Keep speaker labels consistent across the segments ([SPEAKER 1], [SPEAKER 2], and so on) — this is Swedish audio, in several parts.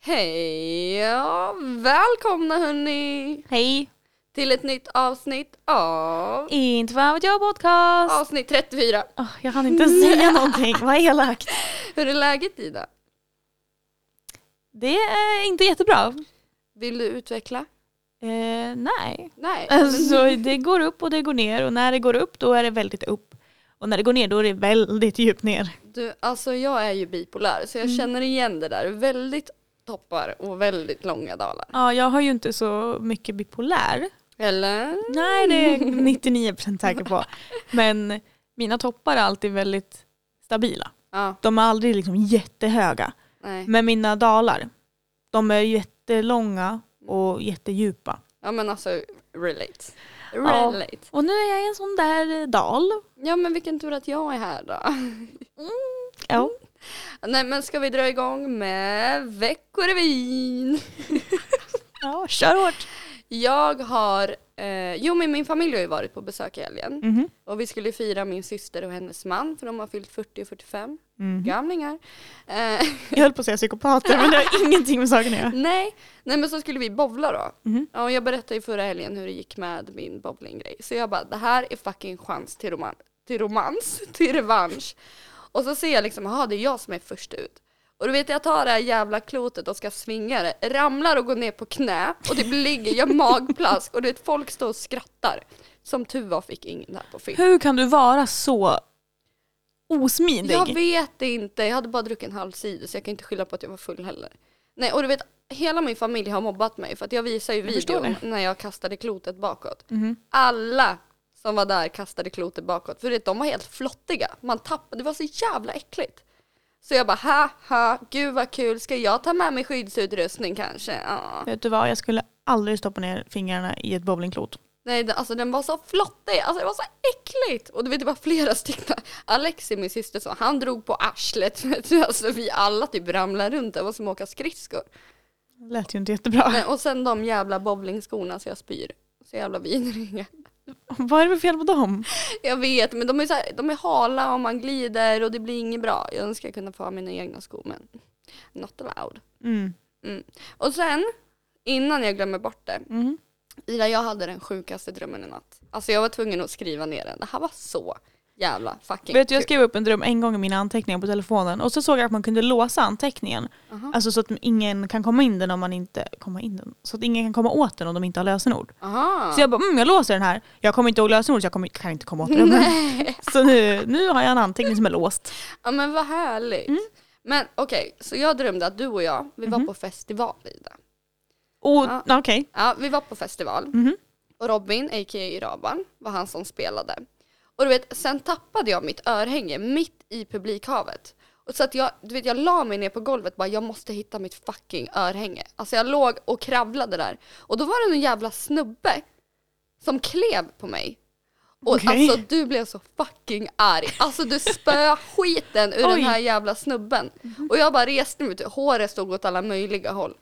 [SPEAKER 1] Hej! Ja, välkomna hörni!
[SPEAKER 2] Hej!
[SPEAKER 1] Till ett nytt avsnitt av
[SPEAKER 2] Inte vad vet jag podcast!
[SPEAKER 1] avsnitt 34.
[SPEAKER 2] Åh, jag hann inte säga någonting, vad elakt.
[SPEAKER 1] Hur är läget Ida?
[SPEAKER 2] Det är inte jättebra.
[SPEAKER 1] Vill du utveckla?
[SPEAKER 2] Eh, nej.
[SPEAKER 1] Nej.
[SPEAKER 2] Alltså det går upp och det går ner och när det går upp då är det väldigt upp. Och när det går ner då är det väldigt djupt ner.
[SPEAKER 1] Du, alltså jag är ju bipolär så jag
[SPEAKER 2] Mm.
[SPEAKER 1] känner igen det där. Väldigt toppar och väldigt långa dalar.
[SPEAKER 2] Ja, jag har ju inte så mycket bipolär.
[SPEAKER 1] Eller?
[SPEAKER 2] Nej, det är jag 99% säker på. Men mina toppar är alltid väldigt stabila.
[SPEAKER 1] Ja,
[SPEAKER 2] De är aldrig liksom jättehöga.
[SPEAKER 1] nej.
[SPEAKER 2] Men mina dalar, de är jättelånga och jättedjupa.
[SPEAKER 1] Ja men alltså relate.
[SPEAKER 2] Ja.
[SPEAKER 1] Relate. Ja,
[SPEAKER 2] Och nu är jag i en sån där eh, dal.
[SPEAKER 1] men vilken tur att jag är här då.
[SPEAKER 2] Ja.
[SPEAKER 1] Nej men ska vi dra igång med veckorevyn?
[SPEAKER 2] ja, kör hårt.
[SPEAKER 1] Jag har, eh, jo men min familj har ju varit på besök i helgen
[SPEAKER 2] Mhm.
[SPEAKER 1] och vi skulle fira min syster och hennes man för de har fyllt 40 och 45, gamlingar. Eh,
[SPEAKER 2] Jag höll på att säga psykopater men det har ingenting med saken att göra.
[SPEAKER 1] nej, nej men så skulle vi bowla då.
[SPEAKER 2] Mhm.
[SPEAKER 1] Ja, och jag berättade ju förra helgen hur det gick med min bowlinggrej så jag bara det här är fucking chans till, roman till romans, till revansch. Och så ser jag liksom, jaha det är jag som är först ut. Och du vet jag tar det här jävla klotet och ska svinga det, ramlar och går ner på knä och typ ligger, jag har magplask och du vet folk står och skrattar. Som tur var fick ingen det här på film.
[SPEAKER 2] Hur kan du vara så osmidig?
[SPEAKER 1] Jag vet inte, jag hade bara druckit en halv cider så jag kan inte skylla på att jag var full heller. Nej och du vet, hela min familj har mobbat mig för att jag visar ju
[SPEAKER 2] Jag förstår
[SPEAKER 1] videon när jag kastade klotet bakåt.
[SPEAKER 2] Mhm.
[SPEAKER 1] Alla som var där kastade klotet bakåt. För du vet, de var helt flottiga. Man tappade, det var så jävla äckligt. Så jag bara ha ha, gud vad kul, ska jag ta med mig skyddsutrustning kanske? Ja.
[SPEAKER 2] Vet du vad, jag skulle aldrig stoppa ner fingrarna i ett bowlingklot.
[SPEAKER 1] Nej det- alltså den var så flottig, alltså det var så äckligt! Och du vet det var flera stycken, Alexi min syster så, han drog på arslet, alltså vi alla typ ramlade runt, det var som att åka skridskor.
[SPEAKER 2] Det lät ju inte jättebra.
[SPEAKER 1] Nej, och sen de jävla bowlingskorna så jag spyr, så jävla vidriga.
[SPEAKER 2] Vad är det för fel på dem?
[SPEAKER 1] Jag vet, men de är, så här, de är hala och man glider och det blir inget bra. Jag önskar jag kunde få ha mina egna skor men not allowed.
[SPEAKER 2] Mm.
[SPEAKER 1] Och sen, innan jag glömmer bort det.
[SPEAKER 2] Mhm.
[SPEAKER 1] Ida, jag hade den sjukaste drömmen i natt. Alltså jag var tvungen att skriva ner den. Det här var så jävla fucking
[SPEAKER 2] Vet du,
[SPEAKER 1] kul.
[SPEAKER 2] jag skrev upp en dröm en gång i mina anteckningar på telefonen och så såg jag att man kunde låsa anteckningen.
[SPEAKER 1] Aha.
[SPEAKER 2] Alltså så att ingen kan komma in den om man inte... Komma in den? Så att ingen kan komma åt den om de inte har lösenord.
[SPEAKER 1] Aha.
[SPEAKER 2] Så jag bara, mm, jag låser den här. Jag kommer inte ihåg lösenordet så jag kommer, kan inte komma åt drömmen. Så nu, nu har jag en anteckning som är låst.
[SPEAKER 1] Ja men vad härligt. Men okej, så jag drömde att du och jag, vi var på festival Ida.
[SPEAKER 2] Och,
[SPEAKER 1] Ja.
[SPEAKER 2] ja. Okej.
[SPEAKER 1] Ja, vi var på festival.
[SPEAKER 2] Mhm.
[SPEAKER 1] Och Robin, a.k.a. Raban, var han som spelade. Och du vet, sen tappade jag mitt örhänge mitt i publikhavet. Och så att jag, du vet, jag la mig ner på golvet bara, jag måste hitta mitt fucking örhänge. Alltså jag låg och kravlade där. Och då var det en jävla snubbe som klev på mig. Och
[SPEAKER 2] Okej.
[SPEAKER 1] alltså du blev så fucking arg. Alltså du spöade skiten ur den
[SPEAKER 2] Oj.
[SPEAKER 1] här jävla snubben. Och jag bara reste mig, ut. håret stod åt alla möjliga håll.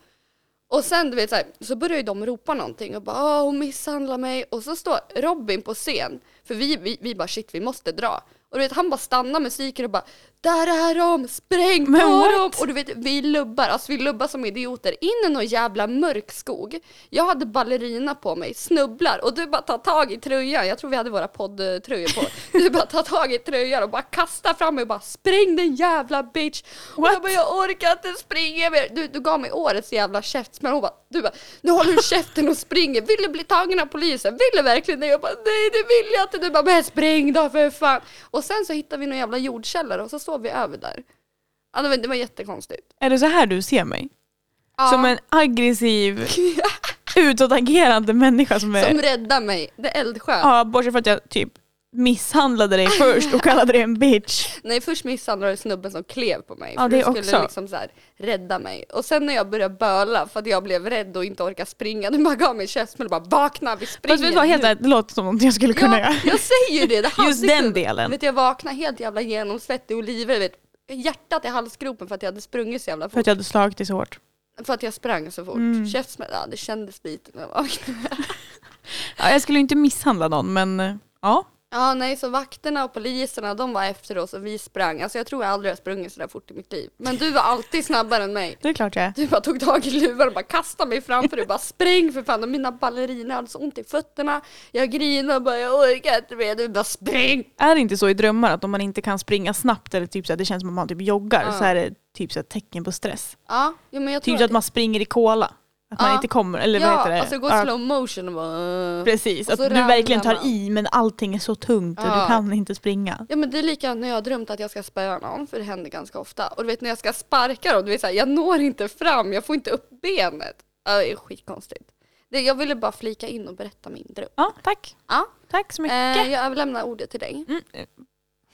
[SPEAKER 1] Och sen du vet så, här, så börjar ju de ropa någonting och bara Åh, hon misshandlar mig och så står Robin på scen för vi, vi, vi bara shit vi måste dra och du vet han bara stannar musiken och bara där är de, spräng på
[SPEAKER 2] Men what?
[SPEAKER 1] dem och du vet vi lubbar, alltså vi lubbar som idioter in i någon jävla mörk skog jag hade ballerina på mig, snubblar och du bara tar tag i tröjan, jag tror vi hade våra poddtröjor på du bara tar tag i tröjan och bara kastar fram mig och bara spräng den jävla bitch och jag bara jag orkar inte springa mer. Du, du gav mig årets jävla käftsmäll. Hon bara, du bara, nu håller du käften och springer. Vill du bli tagen av polisen? Vill du verkligen det? Jag bara, nej det vill jag inte. Du bara, men spring då för fan. Och sen så hittade vi någon jävla jordkällare och så sov vi över där. Ja, det, var, det var jättekonstigt.
[SPEAKER 2] Är det så här du ser mig?
[SPEAKER 1] Ja,
[SPEAKER 2] Som en aggressiv, utåtagerande människa som är...
[SPEAKER 1] som räddade mig. Det är eldsjö.
[SPEAKER 2] ja, bortsett från att jag typ misshandlade dig först och kallade dig en bitch.
[SPEAKER 1] Nej först misshandlade jag snubben som klev på mig.
[SPEAKER 2] Ja,
[SPEAKER 1] för
[SPEAKER 2] det
[SPEAKER 1] skulle
[SPEAKER 2] också.
[SPEAKER 1] liksom så här, rädda mig. Och sen när jag började böla för att jag blev rädd och inte orkade springa. Du bara gav mig en käftsmäll och bara vakna vi springer.
[SPEAKER 2] Fast vet du vad, helt ärligt, det låter som någonting jag skulle
[SPEAKER 1] ja,
[SPEAKER 2] kunna göra.
[SPEAKER 1] jag säger ju det. det hade
[SPEAKER 2] Just den
[SPEAKER 1] kunnat-
[SPEAKER 2] delen.
[SPEAKER 1] Vet, du, jag vaknade helt jävla genomsvettig och livrädd. vet. Hjärtat i halsgropen för att jag hade sprungit så jävla
[SPEAKER 2] För
[SPEAKER 1] fort.
[SPEAKER 2] att jag hade slagit dig så hårt.
[SPEAKER 1] För att jag sprang så fort.
[SPEAKER 2] Mm.
[SPEAKER 1] Käftsmäll, ja, det kändes lite när jag vaknade.
[SPEAKER 2] Ja, jag skulle ju inte misshandla någon men ja.
[SPEAKER 1] Ja, nej, så vakterna och poliserna de var efter oss och vi sprang. Alltså jag tror jag aldrig har sprungit sådär fort i mitt liv. Men du var alltid snabbare än mig.
[SPEAKER 2] Det är klart jag är.
[SPEAKER 1] Du bara tog tag i luvan och bara kastade mig framför dig. Bara spring för fan. Och mina balleriner hade så ont i fötterna. Jag grinade och bara jag orkar inte mer. Du bara spring.
[SPEAKER 2] Är det inte så i drömmar att om man inte kan springa snabbt eller typ så här, det känns som att man typ joggar
[SPEAKER 1] Ja.
[SPEAKER 2] så är det typ så här, tecken på stress.
[SPEAKER 1] Ja, ja men jag tror
[SPEAKER 2] Typ så att man springer i kola. Att man
[SPEAKER 1] Ja.
[SPEAKER 2] inte kommer, eller vad heter
[SPEAKER 1] Ja,
[SPEAKER 2] det?
[SPEAKER 1] alltså gå
[SPEAKER 2] Ja,
[SPEAKER 1] i slow motion och bara...
[SPEAKER 2] Precis,
[SPEAKER 1] Och
[SPEAKER 2] att
[SPEAKER 1] så
[SPEAKER 2] du
[SPEAKER 1] ramlar
[SPEAKER 2] verkligen tar
[SPEAKER 1] man.
[SPEAKER 2] i men allting är så tungt och du
[SPEAKER 1] Ja.
[SPEAKER 2] kan inte springa.
[SPEAKER 1] Ja men det är likadant när jag har drömt att jag ska spöa någon, för det händer ganska ofta. Och du vet när jag ska sparka dem, du vet såhär, jag når inte fram, jag får inte upp benet. Ja, det är skitkonstigt. Det, jag ville bara flika in och berätta min dröm.
[SPEAKER 2] Ja, tack.
[SPEAKER 1] Ja.
[SPEAKER 2] Tack så mycket.
[SPEAKER 1] Eh, jag överlämnar ordet till dig.
[SPEAKER 2] Mm. eh,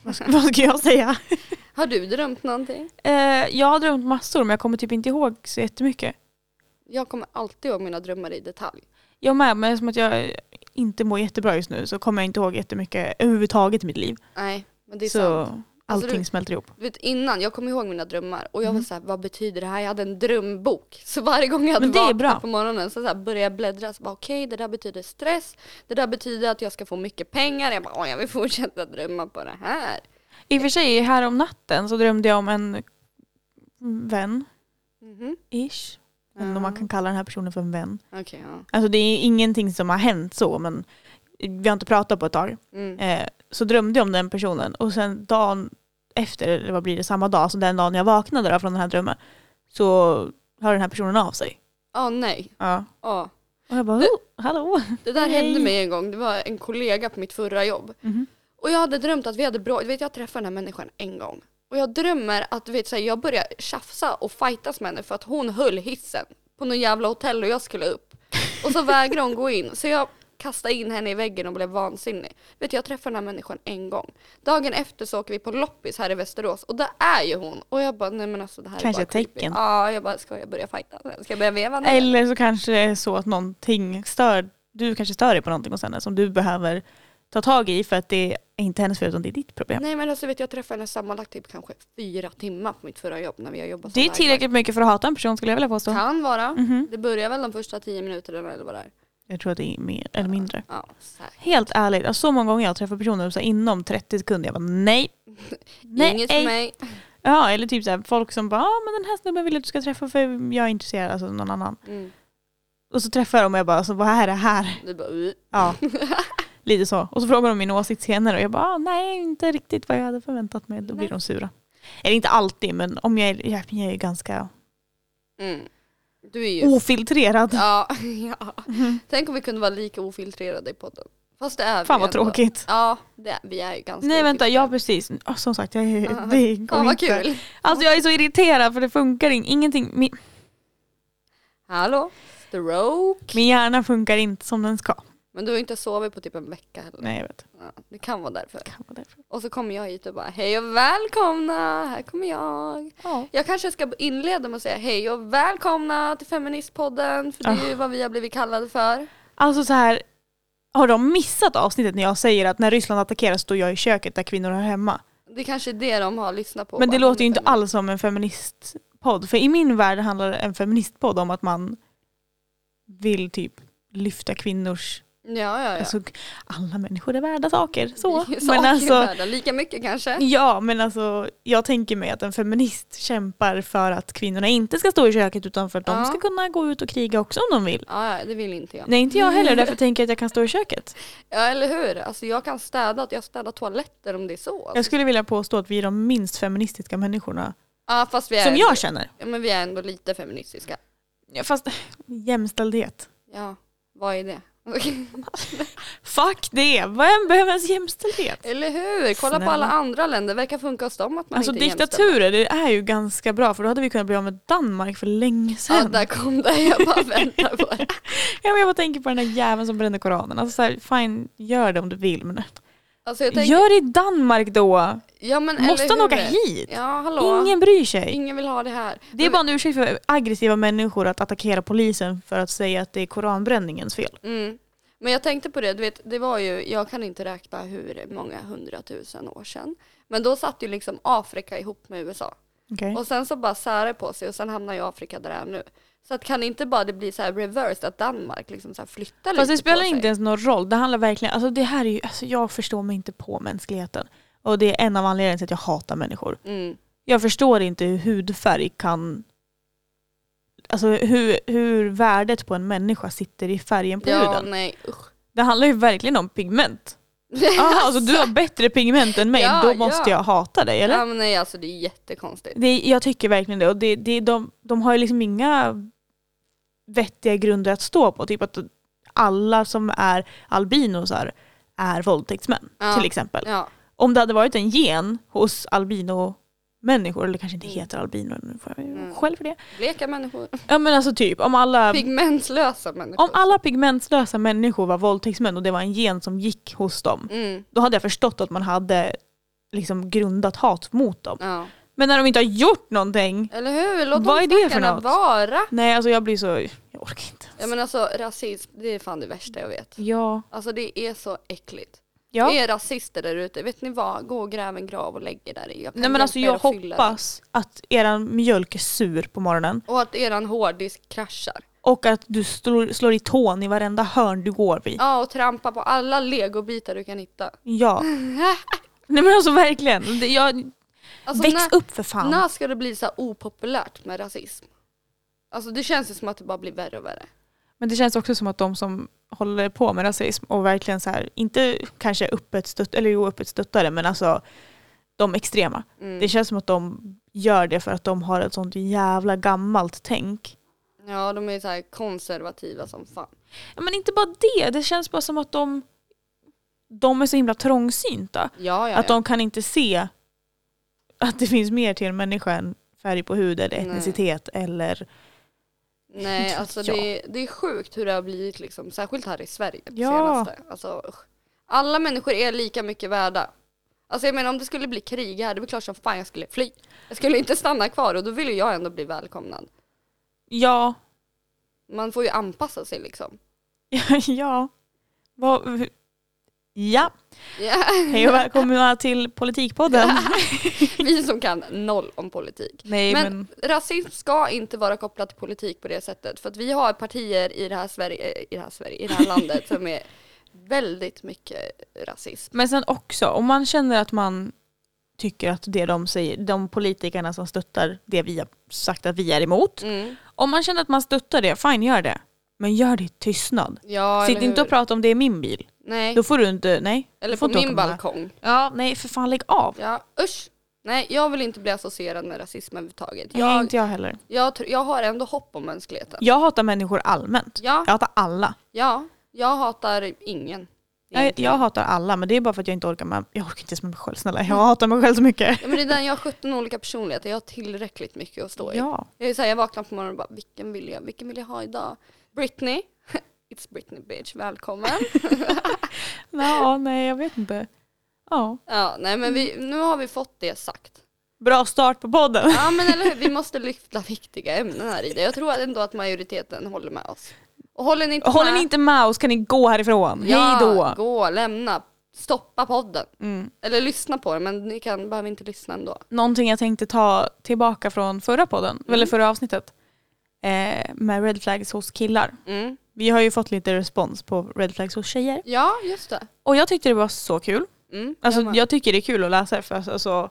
[SPEAKER 2] Vad ska, vad ska jag säga?
[SPEAKER 1] Har du drömt någonting?
[SPEAKER 2] Eh, jag har drömt massor men jag kommer typ inte ihåg så jättemycket.
[SPEAKER 1] Jag kommer alltid ihåg mina drömmar i detalj.
[SPEAKER 2] Jag med, men som att jag inte mår jättebra just nu så kommer jag inte ihåg jättemycket överhuvudtaget i mitt liv.
[SPEAKER 1] Nej, men det är
[SPEAKER 2] Så
[SPEAKER 1] sant.
[SPEAKER 2] allting
[SPEAKER 1] Alltså, du-
[SPEAKER 2] smälter ihop.
[SPEAKER 1] Du vet, innan, jag kom ihåg mina drömmar och jag
[SPEAKER 2] Mm.
[SPEAKER 1] var såhär, vad betyder det här? Jag hade en drömbok. Så varje gång jag hade
[SPEAKER 2] Men det är bra.
[SPEAKER 1] vaknat på morgonen så, såhär började jag bläddra. Så bara, Okej, det där betyder stress. Det där betyder att jag ska få mycket pengar. Jag bara, "Åh, jag vill fortsätta drömma på det här.
[SPEAKER 2] I och för sig, här om natten så drömde jag om en vän,
[SPEAKER 1] Mhm.
[SPEAKER 2] ish. Om
[SPEAKER 1] Ja.
[SPEAKER 2] man kan kalla den här personen för en vän.
[SPEAKER 1] Okej, ja.
[SPEAKER 2] Alltså det är ingenting som har hänt så men vi har inte pratat på ett tag.
[SPEAKER 1] Mm.
[SPEAKER 2] Eh, så drömde jag om den personen och sen dagen efter, eller vad blir det, samma dag, så den dagen jag vaknade då från den här drömmen så hör den här personen av sig.
[SPEAKER 1] Åh nej.
[SPEAKER 2] Ja.
[SPEAKER 1] Åh.
[SPEAKER 2] Och jag bara,
[SPEAKER 1] Du-
[SPEAKER 2] oh, hallå!
[SPEAKER 1] Det där
[SPEAKER 2] Nej.
[SPEAKER 1] hände mig en gång. Det var en kollega på mitt förra jobb.
[SPEAKER 2] Mhm.
[SPEAKER 1] Och jag hade drömt att vi hade bra, du vet jag träffade den här människan en gång. Och jag drömmer att du vet, så här, jag börjar tjafsa och fightas med henne för att hon höll hissen på någon jävla hotell och jag skulle upp. Och så vägrade hon gå in. Så jag kastade in henne i väggen och blev vansinnig. Vet du, jag träffade den här människan en gång. Dagen efter så åker vi på loppis här i Västerås och där är ju hon. Och jag bara, nej men alltså det här
[SPEAKER 2] Kanske
[SPEAKER 1] är bara
[SPEAKER 2] ett tecken.
[SPEAKER 1] creepy. Ja, jag bara, ska jag börja fighta? Ska jag börja veva nu?
[SPEAKER 2] Eller så kanske det är så att någonting stör, du kanske stör dig på någonting hos henne som du behöver ta tag i för att det är inte hennes fel utan det är ditt problem.
[SPEAKER 1] Nej men alltså vet jag, jag träffade henne sammanlagt typ kanske fyra timmar på mitt förra jobb när vi har jobbat som
[SPEAKER 2] Det är
[SPEAKER 1] lärare.
[SPEAKER 2] tillräckligt mycket för att hata en person skulle jag vilja påstå.
[SPEAKER 1] Kan vara.
[SPEAKER 2] Mhm.
[SPEAKER 1] Det börjar väl de första tio minuterna eller vad det är.
[SPEAKER 2] Jag tror att det är mer eller mindre.
[SPEAKER 1] Ja, säkert.
[SPEAKER 2] Helt ärligt, alltså så många gånger jag har träffat personer och så här, inom 30 sekunder jag bara nej. nej.
[SPEAKER 1] Inget för mig.
[SPEAKER 2] Ja, eller typ så här, folk som bara ah, men den här snubben vill jag att du ska träffa för jag är intresserad, alltså någon annan.
[SPEAKER 1] Mm.
[SPEAKER 2] Och så träffar jag dem och jag bara alltså, vad är det här?
[SPEAKER 1] Du bara, "Uh."
[SPEAKER 2] Ja, lite så. Och så frågar de min åsikt senare och jag bara ah, nej inte riktigt vad jag hade förväntat mig. Då blir
[SPEAKER 1] Nej.
[SPEAKER 2] de sura. Eller inte alltid men om jag är, jag jag är ganska
[SPEAKER 1] mm. Du är ju...
[SPEAKER 2] ofiltrerad. Mhm.
[SPEAKER 1] Ja, ja. Tänk om vi kunde vara lika ofiltrerade i podden. Fast det är
[SPEAKER 2] Fan
[SPEAKER 1] vi
[SPEAKER 2] vad
[SPEAKER 1] ändå.
[SPEAKER 2] tråkigt.
[SPEAKER 1] Ja, det är, vi är ju ganska
[SPEAKER 2] Nej vänta,
[SPEAKER 1] ofiltrerade.
[SPEAKER 2] ja precis. Ja, som sagt, jag, är-
[SPEAKER 1] Ja.
[SPEAKER 2] det går
[SPEAKER 1] Fan vad
[SPEAKER 2] inte.
[SPEAKER 1] kul.
[SPEAKER 2] Alltså jag är så irriterad för det funkar in, ingenting. Min,
[SPEAKER 1] Hallå? Stroke?
[SPEAKER 2] min hjärna funkar inte som den ska.
[SPEAKER 1] Men du har ju inte sovit på typ en vecka heller.
[SPEAKER 2] Nej jag vet.
[SPEAKER 1] Ja, det kan vara därför.
[SPEAKER 2] Kan vara därför.
[SPEAKER 1] Och så kommer jag hit och bara hej och välkomna, här kommer jag.
[SPEAKER 2] Ja.
[SPEAKER 1] Jag kanske ska inleda med att säga hej och välkomna till Feministpodden för det är
[SPEAKER 2] Ah.
[SPEAKER 1] ju vad vi har blivit kallade för.
[SPEAKER 2] Alltså så här, har de missat avsnittet när jag säger att när Ryssland attackerar står jag i köket där kvinnor hör hemma?
[SPEAKER 1] Det kanske är det de har lyssnat på.
[SPEAKER 2] Men det
[SPEAKER 1] Bara,
[SPEAKER 2] låter ju inte
[SPEAKER 1] feminist.
[SPEAKER 2] alls som en feministpodd. För i min värld handlar en feministpodd om att man vill typ lyfta kvinnors,
[SPEAKER 1] Ja, ja, ja.
[SPEAKER 2] alltså alla människor är värda saker. Så.
[SPEAKER 1] Saker
[SPEAKER 2] Men alltså,
[SPEAKER 1] värda lika mycket kanske.
[SPEAKER 2] ja men alltså jag tänker mig att en feminist kämpar för att kvinnorna inte ska stå i köket utan för att de
[SPEAKER 1] Ja.
[SPEAKER 2] ska kunna gå ut och kriga också om de vill.
[SPEAKER 1] Ja, ja, det vill inte jag.
[SPEAKER 2] Nej inte jag heller, därför tänker jag att jag kan stå i köket.
[SPEAKER 1] Ja, eller hur? Alltså jag kan städa, jag städar toaletter om det är så.
[SPEAKER 2] Jag skulle vilja påstå att vi är de minst feministiska människorna
[SPEAKER 1] Ja, fast vi är,
[SPEAKER 2] som jag känner.
[SPEAKER 1] Ja, men vi är ändå lite feministiska.
[SPEAKER 2] Ja, Fast jämställdhet.
[SPEAKER 1] Ja, vad är det?
[SPEAKER 2] Fuck det! Vem behöver ens jämställdhet?
[SPEAKER 1] eller hur? Kolla på alla
[SPEAKER 2] Snälla.
[SPEAKER 1] andra länder, verkar funka hos dem att man
[SPEAKER 2] Alltså
[SPEAKER 1] inte är jämställd.
[SPEAKER 2] diktaturer, det är ju ganska bra för då hade vi kunnat bli av med Danmark för länge
[SPEAKER 1] Ja,
[SPEAKER 2] sedan. Ja,
[SPEAKER 1] där kom det. Jag bara väntar på det.
[SPEAKER 2] men jag bara tänker på den där jäveln som brände Koranen. Alltså så här, fine, gör det om du vill men
[SPEAKER 1] Alltså jag tänker,
[SPEAKER 2] gör det i Danmark då!
[SPEAKER 1] ja, men eller
[SPEAKER 2] Måste han
[SPEAKER 1] hur?
[SPEAKER 2] åka hit?
[SPEAKER 1] Ja, hallå. Ingen,
[SPEAKER 2] Ingen bryr sig.
[SPEAKER 1] vill ha det här.
[SPEAKER 2] Det är bara en ursäkt för aggressiva människor att attackera polisen för att säga att det är koranbränningens fel.
[SPEAKER 1] Mm. Men jag tänkte på det, du vet, det var ju, jag kan inte räkna hur många hundratusen år sedan. Men då satt ju liksom Afrika ihop med USA.
[SPEAKER 2] Okej.
[SPEAKER 1] Och sen så bara särar på sig och sen hamnar jag i Afrika där jag är nu. Så att kan inte bara det bli så här reversed att Danmark liksom så här flyttar
[SPEAKER 2] Fast det
[SPEAKER 1] lite
[SPEAKER 2] spelar
[SPEAKER 1] på
[SPEAKER 2] inte
[SPEAKER 1] sig?
[SPEAKER 2] ens någon roll. Det handlar verkligen, alltså det här är ju, alltså jag förstår mig inte på mänskligheten. Och det är en av anledningarna till att jag hatar människor.
[SPEAKER 1] Mm.
[SPEAKER 2] Jag förstår inte hur hudfärg kan, alltså hur, hur värdet på en människa sitter i färgen på
[SPEAKER 1] Ja,
[SPEAKER 2] huden.
[SPEAKER 1] nej usch.
[SPEAKER 2] Det handlar ju verkligen om pigment. Aha, alltså du har bättre pigment än mig,
[SPEAKER 1] Ja,
[SPEAKER 2] då måste
[SPEAKER 1] ja.
[SPEAKER 2] jag hata dig eller?
[SPEAKER 1] Ja, men nej alltså det är jättekonstigt.
[SPEAKER 2] Det, jag tycker verkligen det. Och det, det de, de har ju liksom inga vettiga grunder att stå på. Typ att alla som är albinosar är våldtäktsmän
[SPEAKER 1] Ja.
[SPEAKER 2] till exempel.
[SPEAKER 1] Ja.
[SPEAKER 2] Om det hade varit en gen hos albinomänniskor, eller kanske inte
[SPEAKER 1] Mm.
[SPEAKER 2] heter albino, nu får jag ju
[SPEAKER 1] Mm.
[SPEAKER 2] skäll för det.
[SPEAKER 1] Bleka människor.
[SPEAKER 2] Ja men alltså typ, om alla,
[SPEAKER 1] Pigmentlösa människor.
[SPEAKER 2] om alla pigmentlösa människor var våldtäktsmän och det var en gen som gick hos dem,
[SPEAKER 1] Mm.
[SPEAKER 2] då hade jag förstått att man hade liksom grundat hat mot dem.
[SPEAKER 1] Ja.
[SPEAKER 2] Men när de inte har gjort någonting
[SPEAKER 1] Eller hur? Låt
[SPEAKER 2] Vad
[SPEAKER 1] de
[SPEAKER 2] är det för
[SPEAKER 1] stackarna
[SPEAKER 2] något?
[SPEAKER 1] vara.
[SPEAKER 2] Nej, alltså jag blir så... Jag orkar inte.
[SPEAKER 1] Ja men alltså rasism, det är fan det värsta jag vet.
[SPEAKER 2] Ja.
[SPEAKER 1] Alltså det är så äckligt.
[SPEAKER 2] ja.
[SPEAKER 1] Det är rasister där ute, vet ni vad? Gå och gräv en grav och lägg er där i. Jag kan
[SPEAKER 2] Nej men alltså
[SPEAKER 1] hjälpa
[SPEAKER 2] jag
[SPEAKER 1] er att fylla den.
[SPEAKER 2] hoppas att eran mjölk är sur på morgonen
[SPEAKER 1] Och att eran hårddisk kraschar.
[SPEAKER 2] och att du slår, slår i tån i varenda hörn du går vid.
[SPEAKER 1] Ja och trampa på alla legobitar du kan hitta.
[SPEAKER 2] Ja. Nej men alltså verkligen. Det- Jag,
[SPEAKER 1] Alltså,
[SPEAKER 2] väx
[SPEAKER 1] när,
[SPEAKER 2] upp för fan.
[SPEAKER 1] när ska det bli så här opopulärt med rasism? Alltså det känns ju som att det bara blir värre och värre.
[SPEAKER 2] Men det känns också som att de som håller på med rasism och verkligen så här, inte kanske öppet stöttare, eller jo öppet stöttare, men alltså de extrema.
[SPEAKER 1] Mm.
[SPEAKER 2] Det känns som att de gör det för att de har ett sånt jävla gammalt tänk.
[SPEAKER 1] Ja de är så här konservativa som fan.
[SPEAKER 2] Ja, men inte bara det, det känns bara som att de, de är så himla trångsynta.
[SPEAKER 1] Ja ja,
[SPEAKER 2] Att
[SPEAKER 1] ja.
[SPEAKER 2] de kan inte se att det finns mer till en människa än färg på hud eller
[SPEAKER 1] Nej.
[SPEAKER 2] etnicitet eller...
[SPEAKER 1] Nej alltså
[SPEAKER 2] Ja.
[SPEAKER 1] det, det är sjukt hur det har blivit liksom, särskilt här i Sverige det
[SPEAKER 2] Ja.
[SPEAKER 1] senaste. Alltså, usch. alla människor är lika mycket värda. Alltså jag menar om det skulle bli krig här, det är väl klart som fan jag skulle fly. Jag skulle inte stanna kvar och då vill ju jag ändå bli välkomnad.
[SPEAKER 2] Ja,
[SPEAKER 1] Man får ju anpassa sig liksom.
[SPEAKER 2] ja. Vad- Ja,
[SPEAKER 1] Ja.
[SPEAKER 2] hej och välkomna till Politikpodden.
[SPEAKER 1] Vi som kan noll om politik.
[SPEAKER 2] Nej men,
[SPEAKER 1] Men- Rasism ska inte vara kopplat till politik på det sättet för att vi har partier i det här Sverige, eh, i det här, Sverige, i det här landet som är väldigt mycket rasism.
[SPEAKER 2] men sen också, om man känner att man tycker att det de säger, de politikerna som stöttar det vi har sagt att vi är emot,
[SPEAKER 1] Mm.
[SPEAKER 2] om man känner att man stöttar det, fine gör det. Men gör det i tystnad.
[SPEAKER 1] Ja,
[SPEAKER 2] Sitt
[SPEAKER 1] eller
[SPEAKER 2] inte och
[SPEAKER 1] hur?
[SPEAKER 2] prata om det i min bil.
[SPEAKER 1] Nej.
[SPEAKER 2] Då får du inte, nej.
[SPEAKER 1] Eller
[SPEAKER 2] du får
[SPEAKER 1] på
[SPEAKER 2] inte åka
[SPEAKER 1] min
[SPEAKER 2] med.
[SPEAKER 1] balkong.
[SPEAKER 2] Ja, nej för fan lägg av.
[SPEAKER 1] Ja, usch. Nej, jag vill inte bli associerad med rasism överhuvudtaget.
[SPEAKER 2] Jag,
[SPEAKER 1] Jag,
[SPEAKER 2] inte jag heller.
[SPEAKER 1] jag, tr- jag har ändå hopp om mänskligheten.
[SPEAKER 2] Jag hatar människor allmänt.
[SPEAKER 1] Ja,
[SPEAKER 2] Jag hatar alla.
[SPEAKER 1] ja, jag hatar ingen.
[SPEAKER 2] Jag,
[SPEAKER 1] egentligen.
[SPEAKER 2] jag hatar alla men det är bara för att jag inte orkar med, jag orkar inte ens med mig själv snälla.
[SPEAKER 1] Mm.
[SPEAKER 2] Jag hatar mig själv så mycket.
[SPEAKER 1] Ja, men det är den, jag har 17 olika personligheter, jag har tillräckligt mycket att stå i.
[SPEAKER 2] Ja.
[SPEAKER 1] Jag, är så här, jag vaknar på morgonen och bara, vilken vill jag, vilken vill jag ha idag? Britney, it's Britney bitch, välkommen.
[SPEAKER 2] ja, nej jag vet inte. Ja.
[SPEAKER 1] Ja, nej men vi, nu har vi fått det sagt.
[SPEAKER 2] Bra start på podden.
[SPEAKER 1] Ja men eller hur, vi måste lyfta viktiga ämnen här i det. Jag tror ändå att majoriteten håller med oss. Och håller ni inte
[SPEAKER 2] Håller
[SPEAKER 1] med,
[SPEAKER 2] ni inte med oss kan ni gå härifrån. Hej då.
[SPEAKER 1] gå, lämna, stoppa podden.
[SPEAKER 2] Mm.
[SPEAKER 1] Eller lyssna på den, men ni kan, behöver inte lyssna ändå.
[SPEAKER 2] någonting jag tänkte ta tillbaka från förra podden,
[SPEAKER 1] Mm.
[SPEAKER 2] eller förra avsnittet, eh, med red flags hos killar.
[SPEAKER 1] Mm.
[SPEAKER 2] Vi har ju fått lite respons på red flags hos tjejer.
[SPEAKER 1] Ja, just det.
[SPEAKER 2] Och jag tyckte det var så kul.
[SPEAKER 1] Mm.
[SPEAKER 2] Alltså,
[SPEAKER 1] jag med.
[SPEAKER 2] jag tycker det är kul att läsa för alltså, alltså,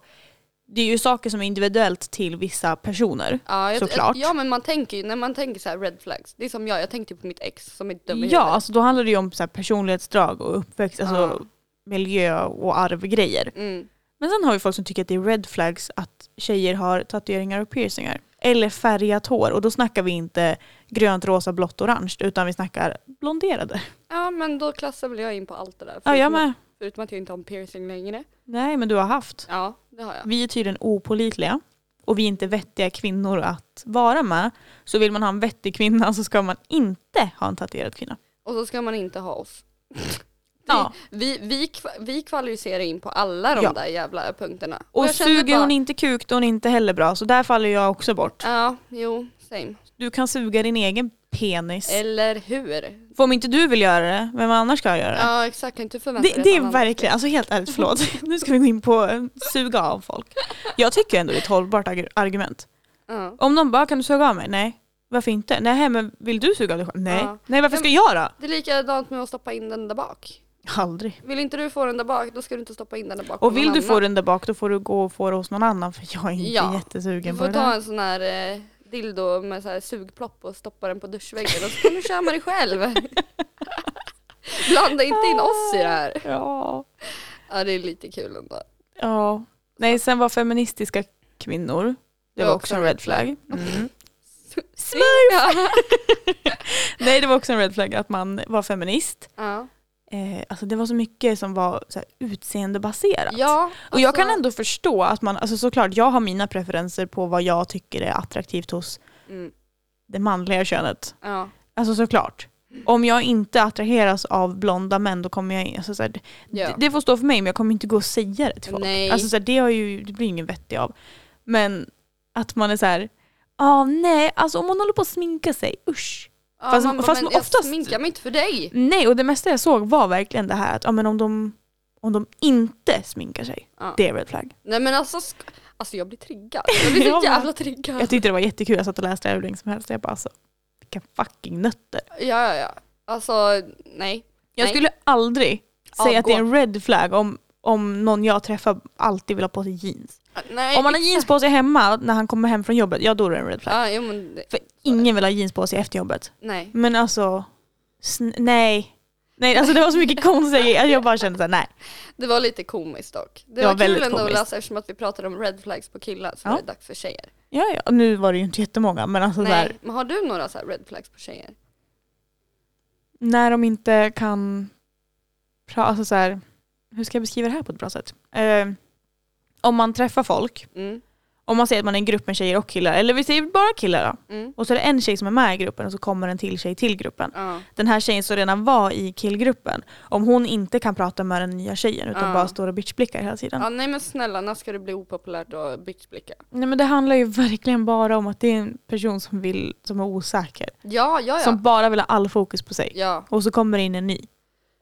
[SPEAKER 2] det är ju saker som är individuellt till vissa personer.
[SPEAKER 1] ja, jag,
[SPEAKER 2] såklart.
[SPEAKER 1] Ja, men man tänker ju, när man tänker så här red flags, det är som jag, jag tänkte på mitt ex som är dum i huvudet.
[SPEAKER 2] Ja, alltså, då handlar det ju om så här, personlighetsdrag och uppväxt, alltså
[SPEAKER 1] Ja.
[SPEAKER 2] miljö och arvgrejer.
[SPEAKER 1] Mm.
[SPEAKER 2] Men sen har vi folk som tycker att det är red flags att tjejer har tatueringar och piercingar. Eller färgat hår. Och då snackar vi inte grönt, rosa, blått, orange. Utan vi snackar blonderade.
[SPEAKER 1] Ja, men då klassar väl jag in på allt det där.
[SPEAKER 2] Ja,
[SPEAKER 1] förutom-
[SPEAKER 2] jag med.
[SPEAKER 1] Förutom att jag inte har en piercing längre.
[SPEAKER 2] Nej, men du har haft.
[SPEAKER 1] Ja, det har jag.
[SPEAKER 2] Vi är tydligen opolitliga. Och vi är inte vettiga kvinnor att vara med. Så vill man ha en vettig kvinna så ska man inte ha en tatuerad kvinna.
[SPEAKER 1] Och så ska man inte ha oss.
[SPEAKER 2] Ja.
[SPEAKER 1] Vi, vi, kva- vi kvalificerar in på alla de
[SPEAKER 2] Ja.
[SPEAKER 1] där jävla punkterna.
[SPEAKER 2] Och
[SPEAKER 1] jag kände
[SPEAKER 2] suger
[SPEAKER 1] bara-
[SPEAKER 2] hon inte kuk då är hon inte heller bra. Så där faller jag också bort.
[SPEAKER 1] Ja, jo, same.
[SPEAKER 2] Du kan suga din egen penis.
[SPEAKER 1] Eller hur?
[SPEAKER 2] För om inte du vill göra det, vem annars ska göra det?
[SPEAKER 1] Ja exakt, kan inte förvänta dig
[SPEAKER 2] det,
[SPEAKER 1] att
[SPEAKER 2] det är
[SPEAKER 1] någon annan-
[SPEAKER 2] verkligen, alltså helt ärligt, förlåt. Nu ska vi gå in på eh, suga av folk. Jag tycker ändå det är ett hållbart arg- argument.
[SPEAKER 1] Ja.
[SPEAKER 2] Om någon bara, kan du suga av mig? Nej. Varför inte? Nej, men vill du suga av dig själv? Nej.
[SPEAKER 1] Ja.
[SPEAKER 2] Nej, varför ska jag då?
[SPEAKER 1] Det är likadant med att stoppa in den där bak.
[SPEAKER 2] Aldrig.
[SPEAKER 1] Vill inte du få den där bak, då ska du inte stoppa in den där bak.
[SPEAKER 2] Och vill
[SPEAKER 1] någon
[SPEAKER 2] du få
[SPEAKER 1] annan.
[SPEAKER 2] den där bak, då får du gå och få det hos någon annan för jag är inte
[SPEAKER 1] Ja.
[SPEAKER 2] jättesugen
[SPEAKER 1] Du
[SPEAKER 2] på
[SPEAKER 1] får
[SPEAKER 2] det
[SPEAKER 1] ta
[SPEAKER 2] där.
[SPEAKER 1] en sån här eh, dildo med så här sugplopp och stoppa den på duschväggen och så kan du köra med dig själv. Blanda inte in oss i
[SPEAKER 2] Ah.
[SPEAKER 1] det här.
[SPEAKER 2] Ja.
[SPEAKER 1] Ja det är lite kul ändå.
[SPEAKER 2] ja. Nej, sen var feministiska kvinnor. Det
[SPEAKER 1] Det
[SPEAKER 2] var
[SPEAKER 1] var
[SPEAKER 2] också en red flag. Mm.
[SPEAKER 1] Ja.
[SPEAKER 2] Nej, det var också en red flag att man var feminist.
[SPEAKER 1] Ja.
[SPEAKER 2] Eh, alltså det var så mycket som var så här, utseendebaserat.
[SPEAKER 1] ja
[SPEAKER 2] Och jag
[SPEAKER 1] alltså,
[SPEAKER 2] kan ändå förstå att man, alltså såklart jag har mina preferenser på vad jag tycker är attraktivt hos
[SPEAKER 1] Mm,
[SPEAKER 2] det manliga könet.
[SPEAKER 1] ja.
[SPEAKER 2] Alltså såklart. Om jag inte attraheras av blonda män då kommer jag in, alltså så här,
[SPEAKER 1] Ja.
[SPEAKER 2] det, det får stå för mig men jag kommer inte gå och säga det till folk.
[SPEAKER 1] Nej.
[SPEAKER 2] Alltså så här, det, har ju, det blir ingen vettig av. Men att man är så här, ah, nej, alltså om man håller på att sminka sig, usch.
[SPEAKER 1] Ja,
[SPEAKER 2] fast-
[SPEAKER 1] man bara,
[SPEAKER 2] fast
[SPEAKER 1] men jag
[SPEAKER 2] oftast-
[SPEAKER 1] sminkar mig inte för dig.
[SPEAKER 2] Nej, och det mesta jag såg var verkligen det här att ja, men om, de, om de inte sminkar sig,
[SPEAKER 1] Ja.
[SPEAKER 2] det är red flag.
[SPEAKER 1] Nej men alltså, sk- alltså jag blir triggad. Jag blir
[SPEAKER 2] Ja,
[SPEAKER 1] så
[SPEAKER 2] men-
[SPEAKER 1] jävla triggad.
[SPEAKER 2] Jag tyckte det var jättekul, jag satt och läste det hur länge som helst. Jag bara alltså, vilka fucking nötter.
[SPEAKER 1] Ja, ja, ja. Alltså, nej.
[SPEAKER 2] Jag
[SPEAKER 1] Nej.
[SPEAKER 2] skulle aldrig
[SPEAKER 1] Ja,
[SPEAKER 2] säga att det är
[SPEAKER 1] gå.
[SPEAKER 2] en red flag om, om någon jag träffar alltid vill ha på sig jeans.
[SPEAKER 1] nej
[SPEAKER 2] om han har
[SPEAKER 1] exakt.
[SPEAKER 2] jeans på sig hemma när han kommer hem från jobbet, ja då är det en red flag.
[SPEAKER 1] Ja, jo, men det,
[SPEAKER 2] För ingen vill ha jeans på sig efter jobbet.
[SPEAKER 1] nej.
[SPEAKER 2] Men alltså, sn- nej. Nej, alltså det var så mycket konstiga grejer. Alltså, Jag bara kände såhär, nej.
[SPEAKER 1] Det var lite komiskt dock. Det,
[SPEAKER 2] Det
[SPEAKER 1] var,
[SPEAKER 2] var väldigt
[SPEAKER 1] kul ändå att
[SPEAKER 2] komiskt.
[SPEAKER 1] läsa eftersom att vi pratade om red flags på killar så
[SPEAKER 2] Ja.
[SPEAKER 1] var det dags för tjejer.
[SPEAKER 2] Ja, ja. Nu var det ju inte jättemånga, men alltså
[SPEAKER 1] nej,
[SPEAKER 2] såhär,
[SPEAKER 1] men har du några så här red flags på tjejer?
[SPEAKER 2] när de inte kan prata, alltså såhär, hur ska jag beskriva det här på ett bra sätt? Eh, om man träffar folk,
[SPEAKER 1] Mm,
[SPEAKER 2] om man säger att man är en grupp med tjejer och killar, eller vi säger bara killar då.
[SPEAKER 1] mm,
[SPEAKER 2] Och så är det en tjej som är med i gruppen och så kommer en till tjej till gruppen.
[SPEAKER 1] ja.
[SPEAKER 2] Den här tjejen som redan var i killgruppen, om hon inte kan prata med den nya tjejen utan
[SPEAKER 1] Ja.
[SPEAKER 2] bara står och bitchblickar hela tiden.
[SPEAKER 1] ja. Nej men snälla, när ska det bli opopulärt att bitchblicka?
[SPEAKER 2] Nej men det handlar ju verkligen bara om att det är en person som, vill, som är osäker.
[SPEAKER 1] Ja, ja, ja.
[SPEAKER 2] Som bara vill ha all fokus på sig.
[SPEAKER 1] Ja,
[SPEAKER 2] Och så kommer det in en ny.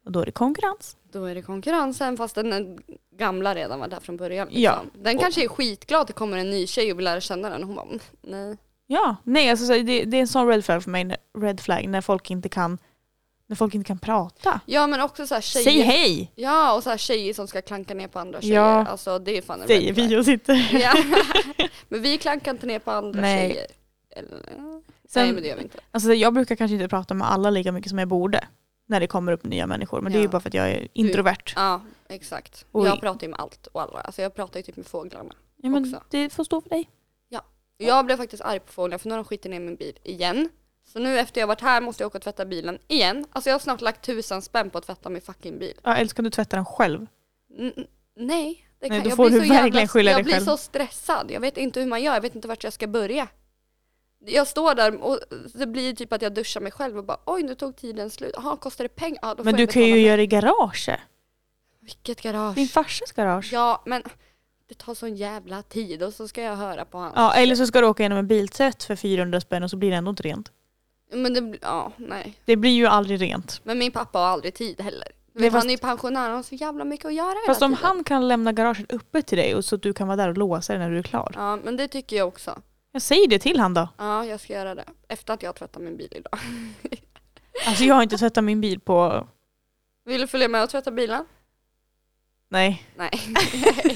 [SPEAKER 2] Och då är det konkurrens.
[SPEAKER 1] då är det konkurrensen fast den gamla redan var där från början. Liksom.
[SPEAKER 2] Ja.
[SPEAKER 1] Den kanske är skitglad att det kommer en ny tjej och vill lära känna den och hon bara "Mm, nej.
[SPEAKER 2] Ja, nej alltså så det, det är en sån red flag för mig, när- red flag, när folk inte kan, när folk inte kan prata.
[SPEAKER 1] Ja men också så här tjejer.
[SPEAKER 2] Säg hej!
[SPEAKER 1] Ja och så här tjejer som ska klanka ner på andra tjejer.
[SPEAKER 2] Ja.
[SPEAKER 1] Alltså det är fan en
[SPEAKER 2] Säger
[SPEAKER 1] red
[SPEAKER 2] vi
[SPEAKER 1] flag.
[SPEAKER 2] och sitter.
[SPEAKER 1] Ja. Men vi klankar inte ner på andra
[SPEAKER 2] Nej.
[SPEAKER 1] tjejer. Eller, nej
[SPEAKER 2] Sen,
[SPEAKER 1] men det gör vi inte.
[SPEAKER 2] alltså, jag brukar kanske inte prata med alla lika mycket som jag borde när det kommer upp nya människor. Men det är ju
[SPEAKER 1] Ja.
[SPEAKER 2] bara för att jag är introvert.
[SPEAKER 1] Ja exakt.
[SPEAKER 2] Oj.
[SPEAKER 1] Jag pratar ju med allt och alla. Alltså jag pratar ju typ med fåglarna.
[SPEAKER 2] Ja, men
[SPEAKER 1] också.
[SPEAKER 2] det får stå för dig.
[SPEAKER 1] Jag blev faktiskt arg på fåglarna för nu har de skitit ner min bil igen. Så nu efter jag varit här måste jag åka och tvätta bilen igen. Alltså jag har snart lagt tusen spänn på att tvätta min fucking bil.
[SPEAKER 2] Ja, eller ska du tvätta den själv?
[SPEAKER 1] N- nej, det kan
[SPEAKER 2] Nej, då
[SPEAKER 1] jag
[SPEAKER 2] får
[SPEAKER 1] blir
[SPEAKER 2] du
[SPEAKER 1] så
[SPEAKER 2] verkligen skylla
[SPEAKER 1] jag
[SPEAKER 2] dig
[SPEAKER 1] blir
[SPEAKER 2] själv.
[SPEAKER 1] så stressad. Jag vet inte hur man gör, jag vet inte vart jag ska börja. Jag står där och det blir typ att jag duschar mig själv och bara oj nu tog tiden slut. Jaha, kostar det pengar? Ja, då
[SPEAKER 2] Men
[SPEAKER 1] får
[SPEAKER 2] du
[SPEAKER 1] jag
[SPEAKER 2] kan ju
[SPEAKER 1] betala.
[SPEAKER 2] göra det i garaget.
[SPEAKER 1] Vilket garage?
[SPEAKER 2] Din farsas garage. Ja.
[SPEAKER 1] Ja, men det tar sån jävla tid och så ska jag höra på han.
[SPEAKER 2] eller så ska du åka genom en biltvätt för 400 spänn och så blir det ändå inte rent.
[SPEAKER 1] Men det, blir- ja, nej.
[SPEAKER 2] Det blir ju aldrig rent.
[SPEAKER 1] Men min pappa har aldrig tid heller. Du
[SPEAKER 2] Nej,
[SPEAKER 1] vet,
[SPEAKER 2] fast-
[SPEAKER 1] Han är ju pensionär, han har så jävla mycket att göra
[SPEAKER 2] Fast
[SPEAKER 1] hela
[SPEAKER 2] om
[SPEAKER 1] tiden.
[SPEAKER 2] han kan lämna garaget uppe till dig och så att du kan vara där och låsa det när du är klar.
[SPEAKER 1] Ja, men det tycker jag också.
[SPEAKER 2] Jag säger det till han då.
[SPEAKER 1] Ja, jag ska göra det. Efter att jag tvättar min bil idag.
[SPEAKER 2] Alltså jag har inte tvättat min bil på...
[SPEAKER 1] Vill du följa med och tvätta bilen?
[SPEAKER 2] Nej.
[SPEAKER 1] Nej,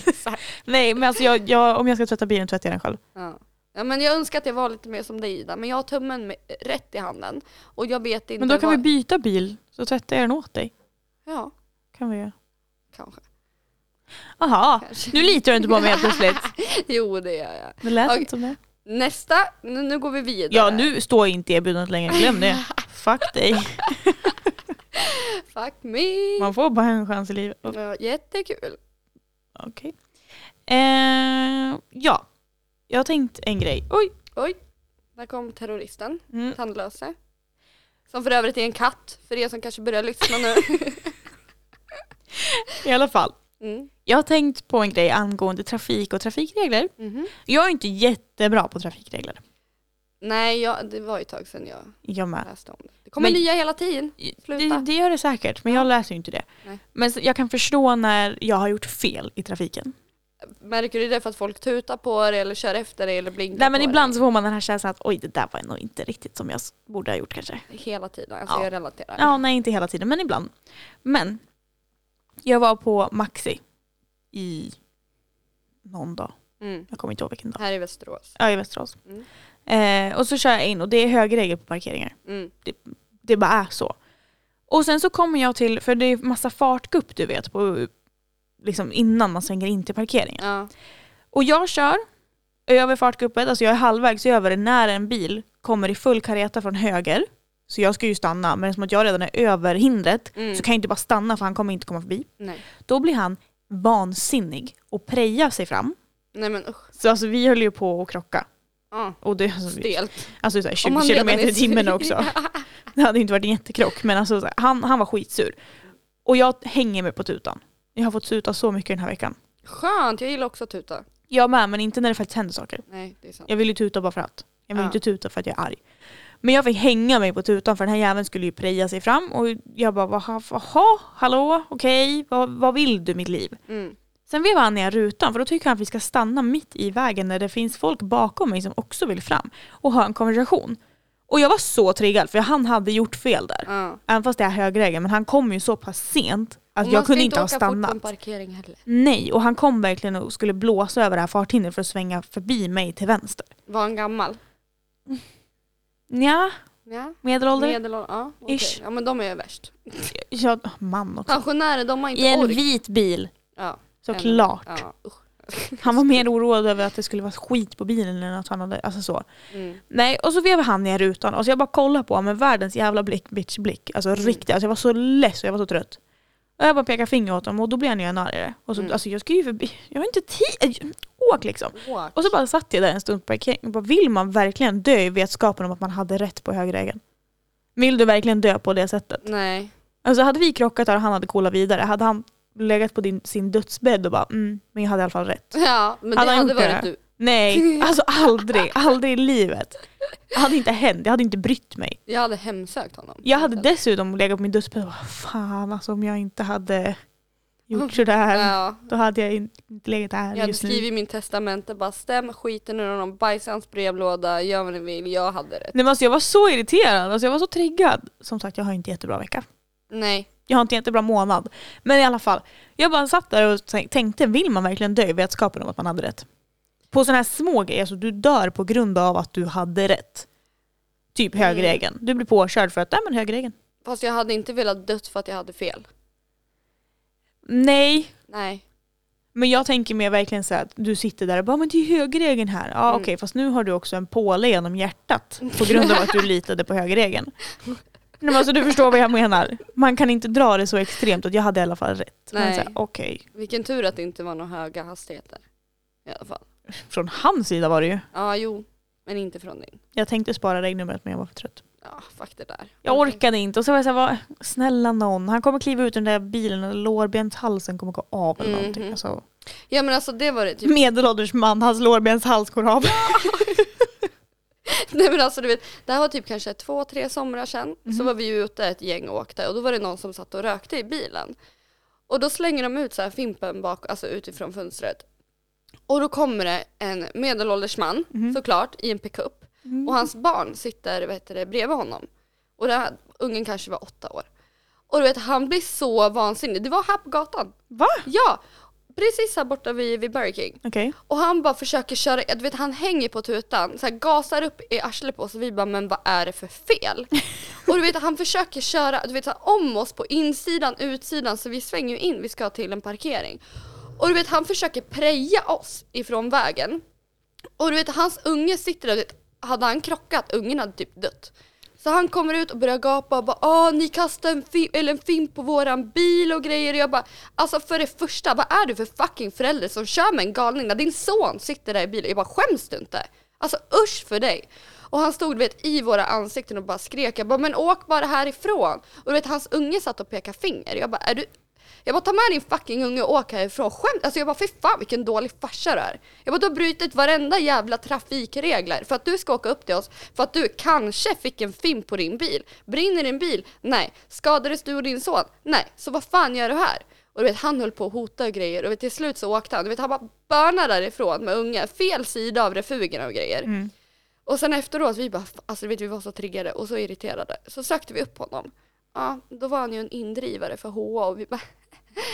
[SPEAKER 1] exakt.
[SPEAKER 2] Nej men alltså jag, jag, om jag ska tvätta bilen tvättar jag den själv.
[SPEAKER 1] Ja. ja, men jag önskar att jag var lite mer som dig Ida, men jag har tummen med, rätt i handen och jag vet inte
[SPEAKER 2] Men då kan vi
[SPEAKER 1] vad...
[SPEAKER 2] byta bil så tvättar jag den åt dig.
[SPEAKER 1] Ja,
[SPEAKER 2] Kan vi göra.
[SPEAKER 1] kanske.
[SPEAKER 2] Aha,
[SPEAKER 1] kanske.
[SPEAKER 2] nu litar du inte på mig helt plötsligt.
[SPEAKER 1] Jo, det gör jag.
[SPEAKER 2] Det lät
[SPEAKER 1] Okej.
[SPEAKER 2] inte som det.
[SPEAKER 1] Nästa, nu, nu går vi vidare.
[SPEAKER 2] Ja, nu står inte erbjudandet längre, glöm det. Fuck dig.
[SPEAKER 1] Fuck me.
[SPEAKER 2] Man får bara en chans i livet. Okej.
[SPEAKER 1] Ja, jättekul.
[SPEAKER 2] Eh, ja, jag har tänkt en grej. Oj.
[SPEAKER 1] Oj, där kom terroristen,
[SPEAKER 2] Mm.
[SPEAKER 1] tandlöse. Som för övrigt är en katt, för er som kanske börjar lyssna nu.
[SPEAKER 2] I alla fall.
[SPEAKER 1] Mm.
[SPEAKER 2] Jag har tänkt på en grej angående trafik och trafikregler.
[SPEAKER 1] Mhm.
[SPEAKER 2] Jag är inte jättebra på trafikregler.
[SPEAKER 1] Nej, jag, det var ju ett tag sedan jag
[SPEAKER 2] Jag med.
[SPEAKER 1] läste om det. Det kommer
[SPEAKER 2] Men-
[SPEAKER 1] nya hela tiden. Sluta.
[SPEAKER 2] Det, det gör det säkert, men jag läser ju inte det.
[SPEAKER 1] Nej.
[SPEAKER 2] Men så- jag kan förstå när jag har gjort fel i trafiken.
[SPEAKER 1] Märker du det för att folk tutar på dig eller kör efter dig eller blinkar
[SPEAKER 2] Nej men
[SPEAKER 1] på
[SPEAKER 2] ibland så får man den här känslan att oj det där var nog inte riktigt som jag s- borde ha gjort kanske.
[SPEAKER 1] dig? Hela tiden, alltså
[SPEAKER 2] Ja.
[SPEAKER 1] jag relaterar.
[SPEAKER 2] Ja nej inte hela tiden men ibland. Men jag var på Maxi i någon dag,
[SPEAKER 1] Mm.
[SPEAKER 2] jag kommer inte ihåg vilken dag.
[SPEAKER 1] Här i Västerås.
[SPEAKER 2] Ja i Västerås.
[SPEAKER 1] Mm.
[SPEAKER 2] Eh, och så kör jag in och det är högregel på parkeringar.
[SPEAKER 1] Mm.
[SPEAKER 2] Det bara är så. Och sen så kommer jag till, för det är massa fartgupp du vet, på, liksom innan man svänger in till parkeringen.
[SPEAKER 1] Ja.
[SPEAKER 2] Och jag kör över fartguppet, alltså jag är halvvägs över det när en bil kommer i full kareta från höger. Så jag ska ju stanna, men som att jag redan är över hindret
[SPEAKER 1] Mm.
[SPEAKER 2] så kan jag inte bara stanna för han kommer inte komma förbi.
[SPEAKER 1] Nej.
[SPEAKER 2] Då blir han vansinnig och prejar sig fram.
[SPEAKER 1] Nej men usch.
[SPEAKER 2] Så alltså vi höll ju på att krocka.
[SPEAKER 1] Ja.
[SPEAKER 2] Och det, alltså, vi-
[SPEAKER 1] Stelt.
[SPEAKER 2] alltså så här,
[SPEAKER 1] Om
[SPEAKER 2] 20
[SPEAKER 1] han redan
[SPEAKER 2] kilometer
[SPEAKER 1] är
[SPEAKER 2] i timmen
[SPEAKER 1] sur.
[SPEAKER 2] också. Det hade inte varit en jättekrock men alltså, så här, han, han var skitsur. Och jag hänger mig på tutan. Jag har fått tuta så mycket den här veckan.
[SPEAKER 1] Skönt, jag gillar också att tuta.
[SPEAKER 2] Jag med men inte när det faktiskt händer saker.
[SPEAKER 1] Nej, det är sant.
[SPEAKER 2] Jag vill ju tuta bara för att. Jag vill
[SPEAKER 1] Ja.
[SPEAKER 2] inte tuta för att jag är arg. Men jag fick hänga mig på tutan för den här jäveln skulle ju preja sig fram och jag bara "Vaha, jaha, hallå, okej, vad, vad vill du mitt liv?
[SPEAKER 1] Mm.
[SPEAKER 2] Sen vevar han ner rutan för då tycker han att vi ska stanna mitt i vägen när det finns folk bakom mig som också vill fram och ha en konversation. Och jag var så triggad för han hade gjort fel där.
[SPEAKER 1] Ja.
[SPEAKER 2] Även fast det är högregeln men han kom ju så pass sent att
[SPEAKER 1] Och
[SPEAKER 2] Alltså, jag kunde
[SPEAKER 1] ska
[SPEAKER 2] inte ha
[SPEAKER 1] åka fort på en
[SPEAKER 2] stannat.
[SPEAKER 1] parkering heller.
[SPEAKER 2] Nej, och han kom verkligen och skulle blåsa över det här farthindret för att svänga förbi mig till vänster.
[SPEAKER 1] Var han gammal?
[SPEAKER 2] Nja,
[SPEAKER 1] Ja.
[SPEAKER 2] Medelålder?
[SPEAKER 1] Medelålders? Ja, okej.
[SPEAKER 2] Ish.
[SPEAKER 1] ja, men de är ju värst.
[SPEAKER 2] Ja, man också.
[SPEAKER 1] Pensionärer, de har inte
[SPEAKER 2] I en
[SPEAKER 1] ork.
[SPEAKER 2] vit bil,
[SPEAKER 1] Ja,
[SPEAKER 2] såklart.
[SPEAKER 1] en- Ja, usch.
[SPEAKER 2] Han var mer oroad över att det skulle vara skit på bilen än att han hade, alltså så.
[SPEAKER 1] Mm.
[SPEAKER 2] Nej, och så vevade han ner rutan och så jag bara kollade på honom med världens jävla blick, bitch blick. Alltså
[SPEAKER 1] Mm.
[SPEAKER 2] riktigt, alltså jag var så less och jag var så trött. Och jag bara pekade finger åt honom och då blev han ju ännu argare. Och så,
[SPEAKER 1] Mm.
[SPEAKER 2] Alltså jag ska ju förbi, jag har inte tid, åk liksom.
[SPEAKER 1] Åk.
[SPEAKER 2] Och så bara satt jag där en stund på parkeringen och bara vill man verkligen dö i vetskapen om att man hade rätt på högerregeln? Vill du verkligen dö på det sättet?
[SPEAKER 1] Nej.
[SPEAKER 2] Alltså hade vi krockat där och han hade kolat vidare, hade han legat på din, sin dödsbädd och bara mm, men jag hade i alla fall rätt.
[SPEAKER 1] Ja, men det
[SPEAKER 2] Hade han
[SPEAKER 1] hade
[SPEAKER 2] gjort det?
[SPEAKER 1] varit du.
[SPEAKER 2] Nej, alltså aldrig, aldrig i livet. Det hade inte hänt, jag hade inte brytt mig.
[SPEAKER 1] Jag hade hemsökt honom.
[SPEAKER 2] Jag hade dessutom legat på min dödsbädd och bara fan alltså om jag inte hade gjort sådär,
[SPEAKER 1] Ja,
[SPEAKER 2] då hade jag in- inte legat här
[SPEAKER 1] jag hade
[SPEAKER 2] just nu.
[SPEAKER 1] skrivit i min testamente bara stäm skiten ur honom, bajsa i hans brevlåda, gör vad ni vill, jag hade rätt.
[SPEAKER 2] Nej men alltså jag var så irriterad, alltså jag var så triggad. Som sagt jag har inte jättebra vecka.
[SPEAKER 1] Nej.
[SPEAKER 2] Jag har inte jättebra månad. Men i alla fall, jag bara satt där och tänk- tänkte, vill man verkligen dö i vetskapen om att man hade rätt? På sådana här små grejer, alltså du dör på grund av att du hade rätt. Typ
[SPEAKER 1] Mm.
[SPEAKER 2] högerregeln. Du blir påkörd för att, nej men högerregeln.
[SPEAKER 1] Fast jag hade inte velat dött för att jag hade fel.
[SPEAKER 2] Nej,
[SPEAKER 1] Nej.
[SPEAKER 2] men jag tänker mer verkligen så här att du sitter där och bara, men det är ju högerregeln här. Ja
[SPEAKER 1] Mm.
[SPEAKER 2] okej, fast nu har du också en påle genom hjärtat på grund av att du litade på högerregeln. Nej, men alltså, du förstår vad jag menar. Man kan inte dra det så extremt att jag hade i alla fall rätt. Man
[SPEAKER 1] Nej.
[SPEAKER 2] säger, Okej,
[SPEAKER 1] Vilken tur att det inte var några höga hastigheter. I alla fall.
[SPEAKER 2] från hans sida var det ju.
[SPEAKER 1] Ja, jo. Men inte från din.
[SPEAKER 2] Jag tänkte spara regnumret men jag var för trött.
[SPEAKER 1] Ja, fuck det där.
[SPEAKER 2] Jag orkade inte och så var jag såhär, snälla någon, han kommer kliva ut ur den där bilen och lårbenshalsen kommer gå av eller
[SPEAKER 1] Mhm.
[SPEAKER 2] någonting. Alltså,
[SPEAKER 1] Ja men alltså det var det typ.
[SPEAKER 2] medelålders man, hans lårbenshals går av.
[SPEAKER 1] Nej men alltså du vet, det här var typ kanske två, tre somrar sedan. Så var vi ute ett gäng och åkte och då var det någon som satt och rökte i bilen. Och då slänger de ut så här fimpen bak, alltså utifrån fönstret. Och då kommer det en medelålders man såklart i en pickup. Och hans barn sitter vad heter det, bredvid honom. Och den här ungen kanske var åtta år. Och du vet han blir så vansinnig. Det var här på gatan.
[SPEAKER 2] Va?
[SPEAKER 1] Ja, precis här borta vid, vid Burger King.
[SPEAKER 2] Okej.
[SPEAKER 1] Och han bara försöker köra, du vet han hänger på tutan, så här, gasar upp i arslet på oss och vi bara men vad är det för fel? och du vet han försöker köra du vet, så här, om oss på insidan, utsidan så vi svänger ju in, vi ska till en parkering. Och du vet han försöker preja oss ifrån vägen. Och du vet hans unge sitter där, du vet, hade han krockat, ungen hade typ dött. Så han kommer ut och börjar gapa och bara ah ni kastar en, fim- eller en fimp på våran bil och grejer och jag bara alltså för det första vad är du för fucking förälder som kör med en galning när din son sitter där i bilen? Jag bara skäms du inte? Alltså usch för dig! Och han stod du vet, i våra ansikten och bara skrek jag bara men åk bara härifrån! Och du vet hans unge satt och pekade finger jag bara är du Jag bara ta med din fucking unge och åk härifrån. Skämt. Alltså jag bara fy fan vilken dålig farsa du är. Jag bara du har brutit varenda jävla trafikregler för att du ska åka upp till oss för att du kanske fick en fimp på din bil. Brinner din bil? Nej. Skadades du och din son? Nej. Så vad fan gör du här? Och du vet han höll på att hota och grejer och vet, till slut så åkte han. Du vet han bara bönade därifrån med ungen. Fel sida av refugen och grejer.
[SPEAKER 2] Mm.
[SPEAKER 1] Och sen efteråt, vi bara, alltså du vet vi var så triggade och så irriterade. Så sökte vi upp honom. Ja, då var han ju en indrivare för HA och vi bara...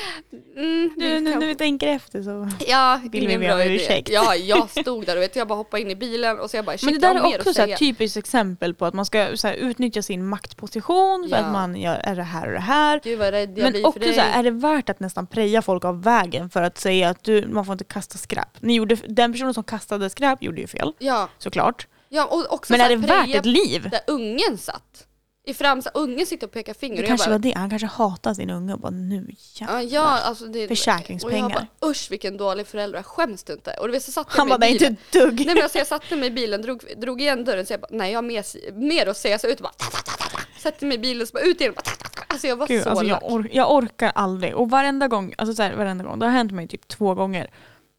[SPEAKER 1] Mm, vi
[SPEAKER 2] Nu, nu,
[SPEAKER 1] kan-
[SPEAKER 2] när vi tänker efter så...
[SPEAKER 1] Ja,
[SPEAKER 2] vi
[SPEAKER 1] ingen
[SPEAKER 2] be
[SPEAKER 1] bra
[SPEAKER 2] om
[SPEAKER 1] idé.
[SPEAKER 2] ursäkt?
[SPEAKER 1] Ja, jag stod där och vet, jag bara hoppade in i bilen och så jag bara shit,
[SPEAKER 2] Men det där
[SPEAKER 1] vad har mer
[SPEAKER 2] är
[SPEAKER 1] att
[SPEAKER 2] också så här typ-
[SPEAKER 1] säga?
[SPEAKER 2] typiskt exempel på att man ska så här, utnyttja sin maktposition för
[SPEAKER 1] Ja.
[SPEAKER 2] att man gör är det här och det här.
[SPEAKER 1] Gud vad rädd jag
[SPEAKER 2] Men
[SPEAKER 1] blir för
[SPEAKER 2] också
[SPEAKER 1] dig.
[SPEAKER 2] så här, är det värt att nästan preja folk av vägen för att säga att du, man får inte kasta skräp. Ni gjorde, den personen som kastade skräp gjorde ju fel,
[SPEAKER 1] ja,
[SPEAKER 2] såklart.
[SPEAKER 1] ja, och också
[SPEAKER 2] Men
[SPEAKER 1] så här,
[SPEAKER 2] är det värt
[SPEAKER 1] preja
[SPEAKER 2] ett liv?
[SPEAKER 1] där ungen satt. I framsidan, ungen sitter och pekar finger
[SPEAKER 2] Det
[SPEAKER 1] och
[SPEAKER 2] kanske
[SPEAKER 1] jag
[SPEAKER 2] var det, han kanske hatar sin unge och bara nu jävlar.
[SPEAKER 1] bara, ja, ja, alltså det,
[SPEAKER 2] Försäkringspengar.
[SPEAKER 1] Och jag bara usch vilken dålig förälder, jag skäms du inte? Och du vet så satt jag
[SPEAKER 2] Han
[SPEAKER 1] med
[SPEAKER 2] bara, nej inte
[SPEAKER 1] bilen.
[SPEAKER 2] ett dugg.
[SPEAKER 1] Nej men alltså jag satte mig i bilen, drog, drog igen dörren så jag bara, nej jag har mer, mer att säga. Så jag ut och bara, ta, ta, ta, ta, ta. satte mig i bilen och så bara ut igen. och Bara, ta, ta, ta. Alltså jag var
[SPEAKER 2] Gud,
[SPEAKER 1] så
[SPEAKER 2] alltså jag,
[SPEAKER 1] lack.
[SPEAKER 2] or- jag orkar aldrig. Och varenda gång, alltså så här, varenda gång, det har hänt mig typ två gånger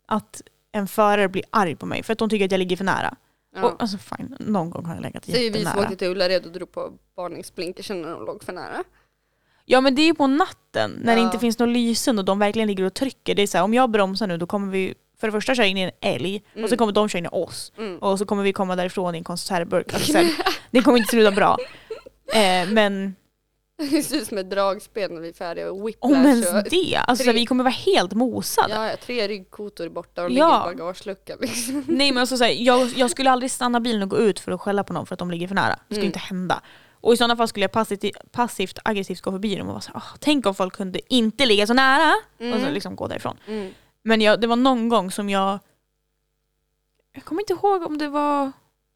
[SPEAKER 2] att en förare blir arg på mig för att de tycker att jag ligger för nära.
[SPEAKER 1] Ja.
[SPEAKER 2] Och, alltså fine, någon gång har jag legat
[SPEAKER 1] Så det är ju vi som
[SPEAKER 2] jättenära.
[SPEAKER 1] åkte till Ullared och drog på varningsblinkersen när de låg för nära.
[SPEAKER 2] Ja men det är ju på natten när det
[SPEAKER 1] Ja.
[SPEAKER 2] inte finns någon lysen och de verkligen ligger och trycker. Det är så här, om jag bromsar nu då kommer vi för det första köra in i en älg
[SPEAKER 1] Mm.
[SPEAKER 2] och så kommer de köra in i oss. Och så kommer vi komma därifrån i en konservburk. Alltså, så här, det kommer inte sluta bra. Eh, men
[SPEAKER 1] Det ser ut som ett dragspel när vi är färdiga och whiplash.
[SPEAKER 2] om ens
[SPEAKER 1] och,
[SPEAKER 2] det, alltså, så här, vi kommer vara helt mosade.
[SPEAKER 1] ja, ja, tre ryggkotor borta och de
[SPEAKER 2] Ja.
[SPEAKER 1] ligger i bagageluckan liksom.
[SPEAKER 2] Nej men alltså, så här, jag, jag skulle aldrig stanna bilen och gå ut för att skälla på någon för att de ligger för nära. Det skulle inte hända. Och i sådana fall skulle jag passivt, passivt aggressivt gå förbi dem och vara så här, "Åh, tänk om folk kunde inte ligga så nära. Och så liksom gå därifrån.
[SPEAKER 1] Mm.
[SPEAKER 2] Men jag, det var någon gång som jag... Jag kommer inte ihåg om det var...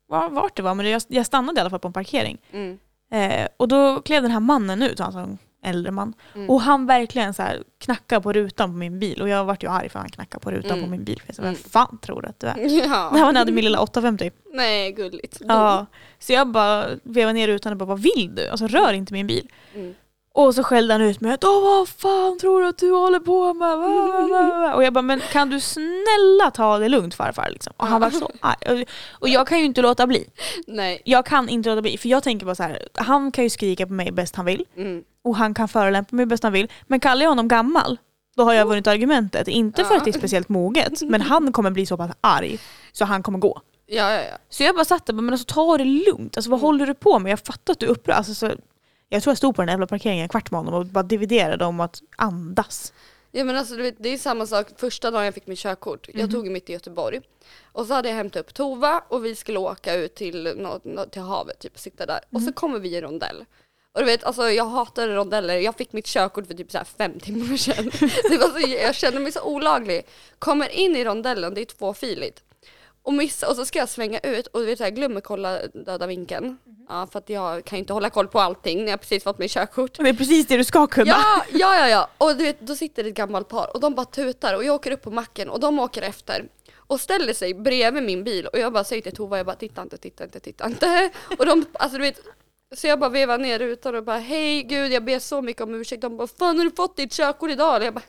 [SPEAKER 2] var vart det var, men jag, jag stannade i alla fall på en parkering.
[SPEAKER 1] Mm.
[SPEAKER 2] Eh, och då klev den här mannen ut, alltså en äldre man. Och han verkligen så här knackade på rutan på min bil. Och jag vart ju arg för att han knackade på rutan på min bil. För jag sa, vem fan tror du att du är? Det här
[SPEAKER 1] Ja,
[SPEAKER 2] var när jag hade min lilla 850.
[SPEAKER 1] nej gulligt.
[SPEAKER 2] Ja. Så jag bara vevade ner rutan och bara, vad vill du? Alltså rör inte min bil.
[SPEAKER 1] Mm.
[SPEAKER 2] Och så skällde han ut mig. att, Åh, vad fan tror du att du håller på med? Va, va, va, va. Och jag bara, men kan du snälla ta det lugnt farfar? Liksom. Och han var så arg. Och- Och jag kan ju inte låta bli.
[SPEAKER 1] Nej.
[SPEAKER 2] Jag kan inte låta bli. För jag tänker bara så här, han kan ju skrika på mig bäst han vill.
[SPEAKER 1] Mm.
[SPEAKER 2] Och han kan förolämpa mig bäst han vill. Men kallar jag honom gammal, då har jag vunnit argumentet. Inte för att det är speciellt moget, men han kommer bli så pass arg så han kommer gå.
[SPEAKER 1] Ja, ja, ja.
[SPEAKER 2] Så jag bara satt där och bara, men alltså ta det lugnt. Alltså vad håller du på med? Jag fattar att du är upprörd. Alltså, så, jag tror jag stod på den där jävla parkeringen en kvart med honom och bara dividerade om att andas.
[SPEAKER 1] Ja men alltså du vet, det är samma sak första dagen jag fick mitt körkort. Jag tog mitt i Göteborg. Och så hade jag hämtat upp Tova och vi skulle åka ut till, nå- nå- till havet, typ sitta där. Och så kommer vi i en rondell. Och du vet, alltså jag hatar rondeller. Jag fick mitt körkort för typ så här fem timmar sedan. Det var så, jag kände mig så olaglig. Kommer in i rondellen, det är tvåfiligt. Och missar, och så ska jag svänga ut och du vet, så här, glömmer kolla döda vinkeln. Ja, för att jag kan ju inte hålla koll på allting när jag precis fått mitt körkort.
[SPEAKER 2] Det är precis det du ska kunna.
[SPEAKER 1] Ja, ja, ja, ja. Och du vet, då sitter det ett gammalt par och de bara tutar och jag åker upp på macken och de åker efter och ställer sig bredvid min bil och jag bara säger till Tova, jag bara titta inte, titta inte, titta inte. Och de, alltså du vet, så jag bara vevar ner rutan och bara hej gud jag ber så mycket om ursäkt. De bara fan har du fått ditt körkort idag? Och jag bara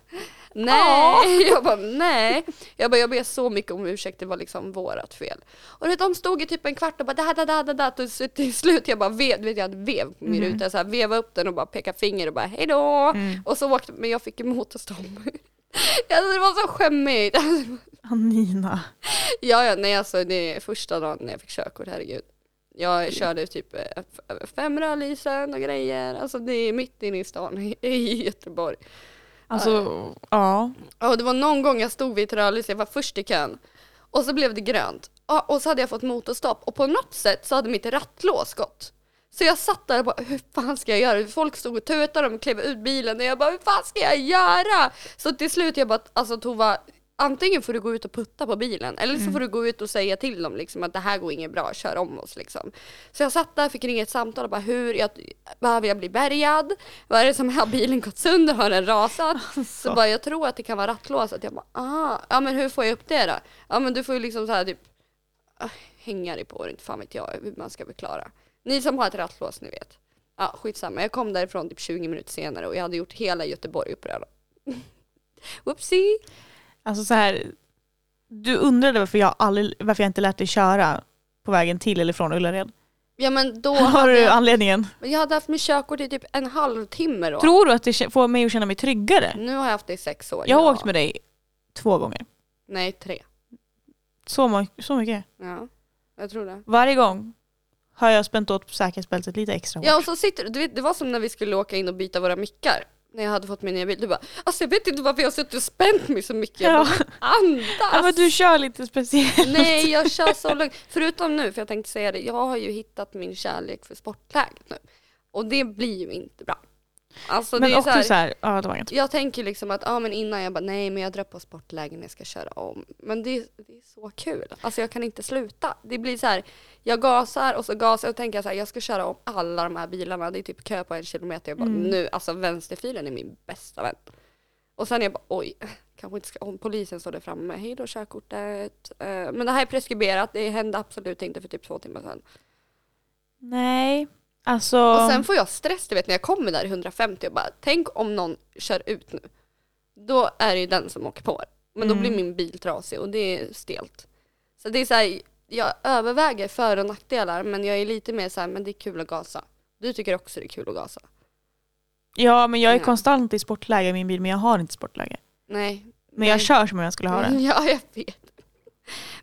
[SPEAKER 1] nej, jag bara nej. Jag bara jag ber så mycket om ursäkt, det var liksom vårat fel. Och du vet, de stod i typ en kvart och bara da da da da da. Och så till slut jag bara vev, du vet jag hade vev på min ruta, så här, vevade upp den och bara pekade finger och bara hej då. Och så åkte, men jag fick emot hos dem. Alltså det var så skämmigt. Alltså,
[SPEAKER 2] Anina.
[SPEAKER 1] Ja, ja, nej alltså det är första dagen när jag fick körkort, herregud. Jag körde typ eh, f- fem rödlysen och grejer, alltså det är mitt inne i stan i- i Göteborg.
[SPEAKER 2] Alltså, ja.
[SPEAKER 1] Och det var någon gång jag stod vid ett rödlys, jag var först i kön och så blev det grönt. Ja, Och så hade jag fått motorstopp och på något sätt så hade mitt rattlås gått. Så jag satt där och bara, hur fan ska jag göra? Folk stod och tutade, de klev ut bilen och jag bara, hur fan ska jag göra? Så till slut jag bara, alltså Tova, antingen får du gå ut och putta på bilen eller så får du gå ut och säga till dem liksom att det här går inget bra, kör om oss liksom. Så jag satt där, fick ringa ett samtal och bara, hur, jag, behöver jag bli bärgad? Vad är det som, har bilen gått sönder? Har den rasat? Så bara, jag tror att det kan vara rattlåset. Jag bara, ah, ja men hur får jag upp det då? Ja men du får ju liksom så här typ ah, hänga dig på det, inte fan vet jag hur man ska förklara. Ni som har ett rattlås, ni vet. Ja, skitsamma. Jag kom därifrån typ 20 minuter senare och jag hade gjort hela Göteborg upprörd. Whoopsie.
[SPEAKER 2] Alltså så här, du undrade varför jag, aldrig, varför jag inte lät dig köra på vägen till eller från Ullared.
[SPEAKER 1] Ja men då
[SPEAKER 2] Har
[SPEAKER 1] hade
[SPEAKER 2] du
[SPEAKER 1] jag,
[SPEAKER 2] anledningen?
[SPEAKER 1] men jag hade haft mitt körkort i typ en halvtimme då.
[SPEAKER 2] Tror du att det kä- får mig att känna mig tryggare?
[SPEAKER 1] Nu har jag haft det i sex år.
[SPEAKER 2] Jag har
[SPEAKER 1] ja.
[SPEAKER 2] åkt med dig två gånger.
[SPEAKER 1] Nej, tre.
[SPEAKER 2] Så, må- så mycket.
[SPEAKER 1] Ja, jag tror det.
[SPEAKER 2] Varje gång har jag spänt åt säkerhetsbältet lite extra hårt.
[SPEAKER 1] Ja och så sitter du, vet, det var som när vi skulle åka in och byta våra mickar. När jag hade fått min nya bil. Du bara, alltså jag vet inte varför jag har suttit och spänt mig så mycket. Jag
[SPEAKER 2] Ja.
[SPEAKER 1] bara, andas!
[SPEAKER 2] Ja, men du kör lite speciellt.
[SPEAKER 1] Nej, jag kör så lugnt. Förutom nu, för jag tänkte säga det, jag har ju hittat min kärlek för sportläget nu. Och det blir ju inte bra. Alltså det
[SPEAKER 2] men
[SPEAKER 1] är ju så
[SPEAKER 2] också
[SPEAKER 1] här,
[SPEAKER 2] så här, ja det var inget.
[SPEAKER 1] jag tänker liksom att, ja men innan jag bara, nej men jag drar på sportlägen när jag ska köra om. Men det, är- det är så kul. Alltså jag kan inte sluta. Det blir så här, jag gasar och så gasar jag och tänker så här, jag ska köra om alla de här bilarna. Det är typ kö på en kilometer. Jag bara, nu, alltså vänsterfilen är min bästa vän. Och sen är jag bara, oj, kanske inte ska, om polisen står där framme, hej då körkortet. Eh, Men det här är preskriberat, det hände absolut inte för typ två timmar sedan.
[SPEAKER 2] Nej, alltså.
[SPEAKER 1] Och sen får jag stress, du vet när jag kommer där i 150 och bara tänk om någon kör ut nu. Då är det ju den som åker på. Men då blir
[SPEAKER 2] Mm.
[SPEAKER 1] min bil trasig och det är stelt. Så det är så här, jag överväger för och nackdelar men jag är lite mer så här, men det är kul att gasa. Du tycker också det är kul att gasa.
[SPEAKER 2] Ja men jag är
[SPEAKER 1] Ja.
[SPEAKER 2] konstant i sportläge i min bil men jag har inte sportläge.
[SPEAKER 1] Nej.
[SPEAKER 2] Men
[SPEAKER 1] Nej.
[SPEAKER 2] jag
[SPEAKER 1] Mm.
[SPEAKER 2] kör som om jag skulle ha det.
[SPEAKER 1] Ja, jag vet.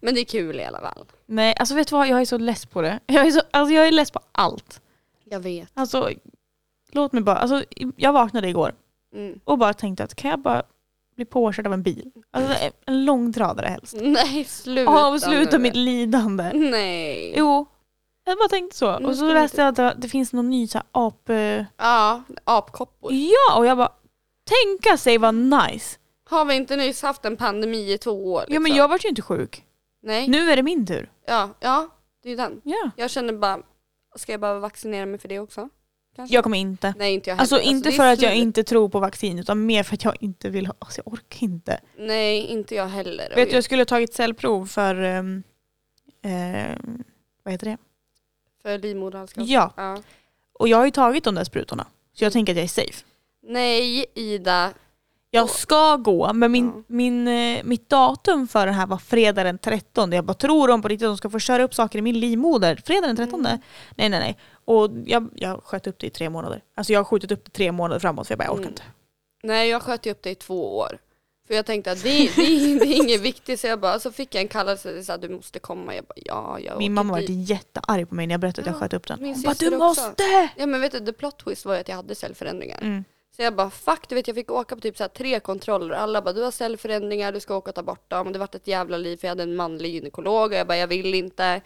[SPEAKER 1] Men det är kul i alla fall.
[SPEAKER 2] Nej alltså vet du vad, jag är så less på det. Jag är, så, alltså, jag är less på allt.
[SPEAKER 1] Jag vet.
[SPEAKER 2] Alltså låt mig bara, alltså, jag vaknade igår
[SPEAKER 1] Mm.
[SPEAKER 2] och bara tänkte att kan jag bara bli påkörd av en bil? Alltså en långtradare helst.
[SPEAKER 1] Nej, sluta
[SPEAKER 2] Avsluta
[SPEAKER 1] nu.
[SPEAKER 2] mitt lidande.
[SPEAKER 1] Nej.
[SPEAKER 2] Jo, jag bara tänkte så.
[SPEAKER 1] Men
[SPEAKER 2] Och så
[SPEAKER 1] ska
[SPEAKER 2] läste
[SPEAKER 1] inte-
[SPEAKER 2] jag att det- det finns någon ny så här, ap...
[SPEAKER 1] Ja, apkoppor.
[SPEAKER 2] Ja, och jag bara tänka sig vad nice.
[SPEAKER 1] Har vi inte nyss haft en pandemi i två år?
[SPEAKER 2] Ja men
[SPEAKER 1] liksom?
[SPEAKER 2] jag vart ju inte sjuk.
[SPEAKER 1] Nej.
[SPEAKER 2] Nu är det min tur.
[SPEAKER 1] Ja, ja, det är ju den.
[SPEAKER 2] Ja.
[SPEAKER 1] Jag känner bara, ska jag behöva vaccinera mig för det också? Kanske?
[SPEAKER 2] Jag kommer inte.
[SPEAKER 1] Nej, inte jag heller.
[SPEAKER 2] Alltså inte
[SPEAKER 1] det är
[SPEAKER 2] för att jag
[SPEAKER 1] slut.
[SPEAKER 2] inte tror på vaccin utan mer för att jag inte vill ha, alltså jag orkar inte.
[SPEAKER 1] Nej, inte jag heller. Och
[SPEAKER 2] Vet du jag skulle ha tagit cellprov för, ehm, ehm, vad heter det?
[SPEAKER 1] För livmoderhalscancer.
[SPEAKER 2] Ja,
[SPEAKER 1] Ja.
[SPEAKER 2] och jag har ju tagit de där sprutorna. Så jag tänker att jag är safe.
[SPEAKER 1] Nej, Ida.
[SPEAKER 2] Jag ska gå men min,
[SPEAKER 1] Ja.
[SPEAKER 2] min, eh, mitt datum för den här var fredag den 13. Jag bara tror de på riktigt att de ska få köra upp saker i min livmoder fredag den 13?
[SPEAKER 1] Mm.
[SPEAKER 2] Nej nej nej. Och jag, jag sköt upp det i tre månader. Alltså jag har skjutit upp det tre månader framåt för jag bara jag orkar
[SPEAKER 1] Mm.
[SPEAKER 2] inte.
[SPEAKER 1] Nej, jag sköt ju upp det i två år. För jag tänkte att det, det, det är inget viktigt. Så jag bara, så fick jag en kallelse, så här, du måste komma. Jag bara, ja, jag åker
[SPEAKER 2] Min mamma var
[SPEAKER 1] dit.
[SPEAKER 2] jättearg på mig när jag berättade att jag
[SPEAKER 1] Ja,
[SPEAKER 2] sköt upp den.
[SPEAKER 1] min
[SPEAKER 2] Hon bara
[SPEAKER 1] syster
[SPEAKER 2] du
[SPEAKER 1] också.
[SPEAKER 2] måste!
[SPEAKER 1] Ja men vet du, the plot twist var ju att jag hade cellförändringar.
[SPEAKER 2] Mm.
[SPEAKER 1] Så jag bara fuck, du vet jag fick åka på typ så här tre kontroller. Alla bara du har cellförändringar, du ska åka och ta bort dem. Det vart ett jävla liv för jag hade en manlig gynekolog och jag bara jag vill inte.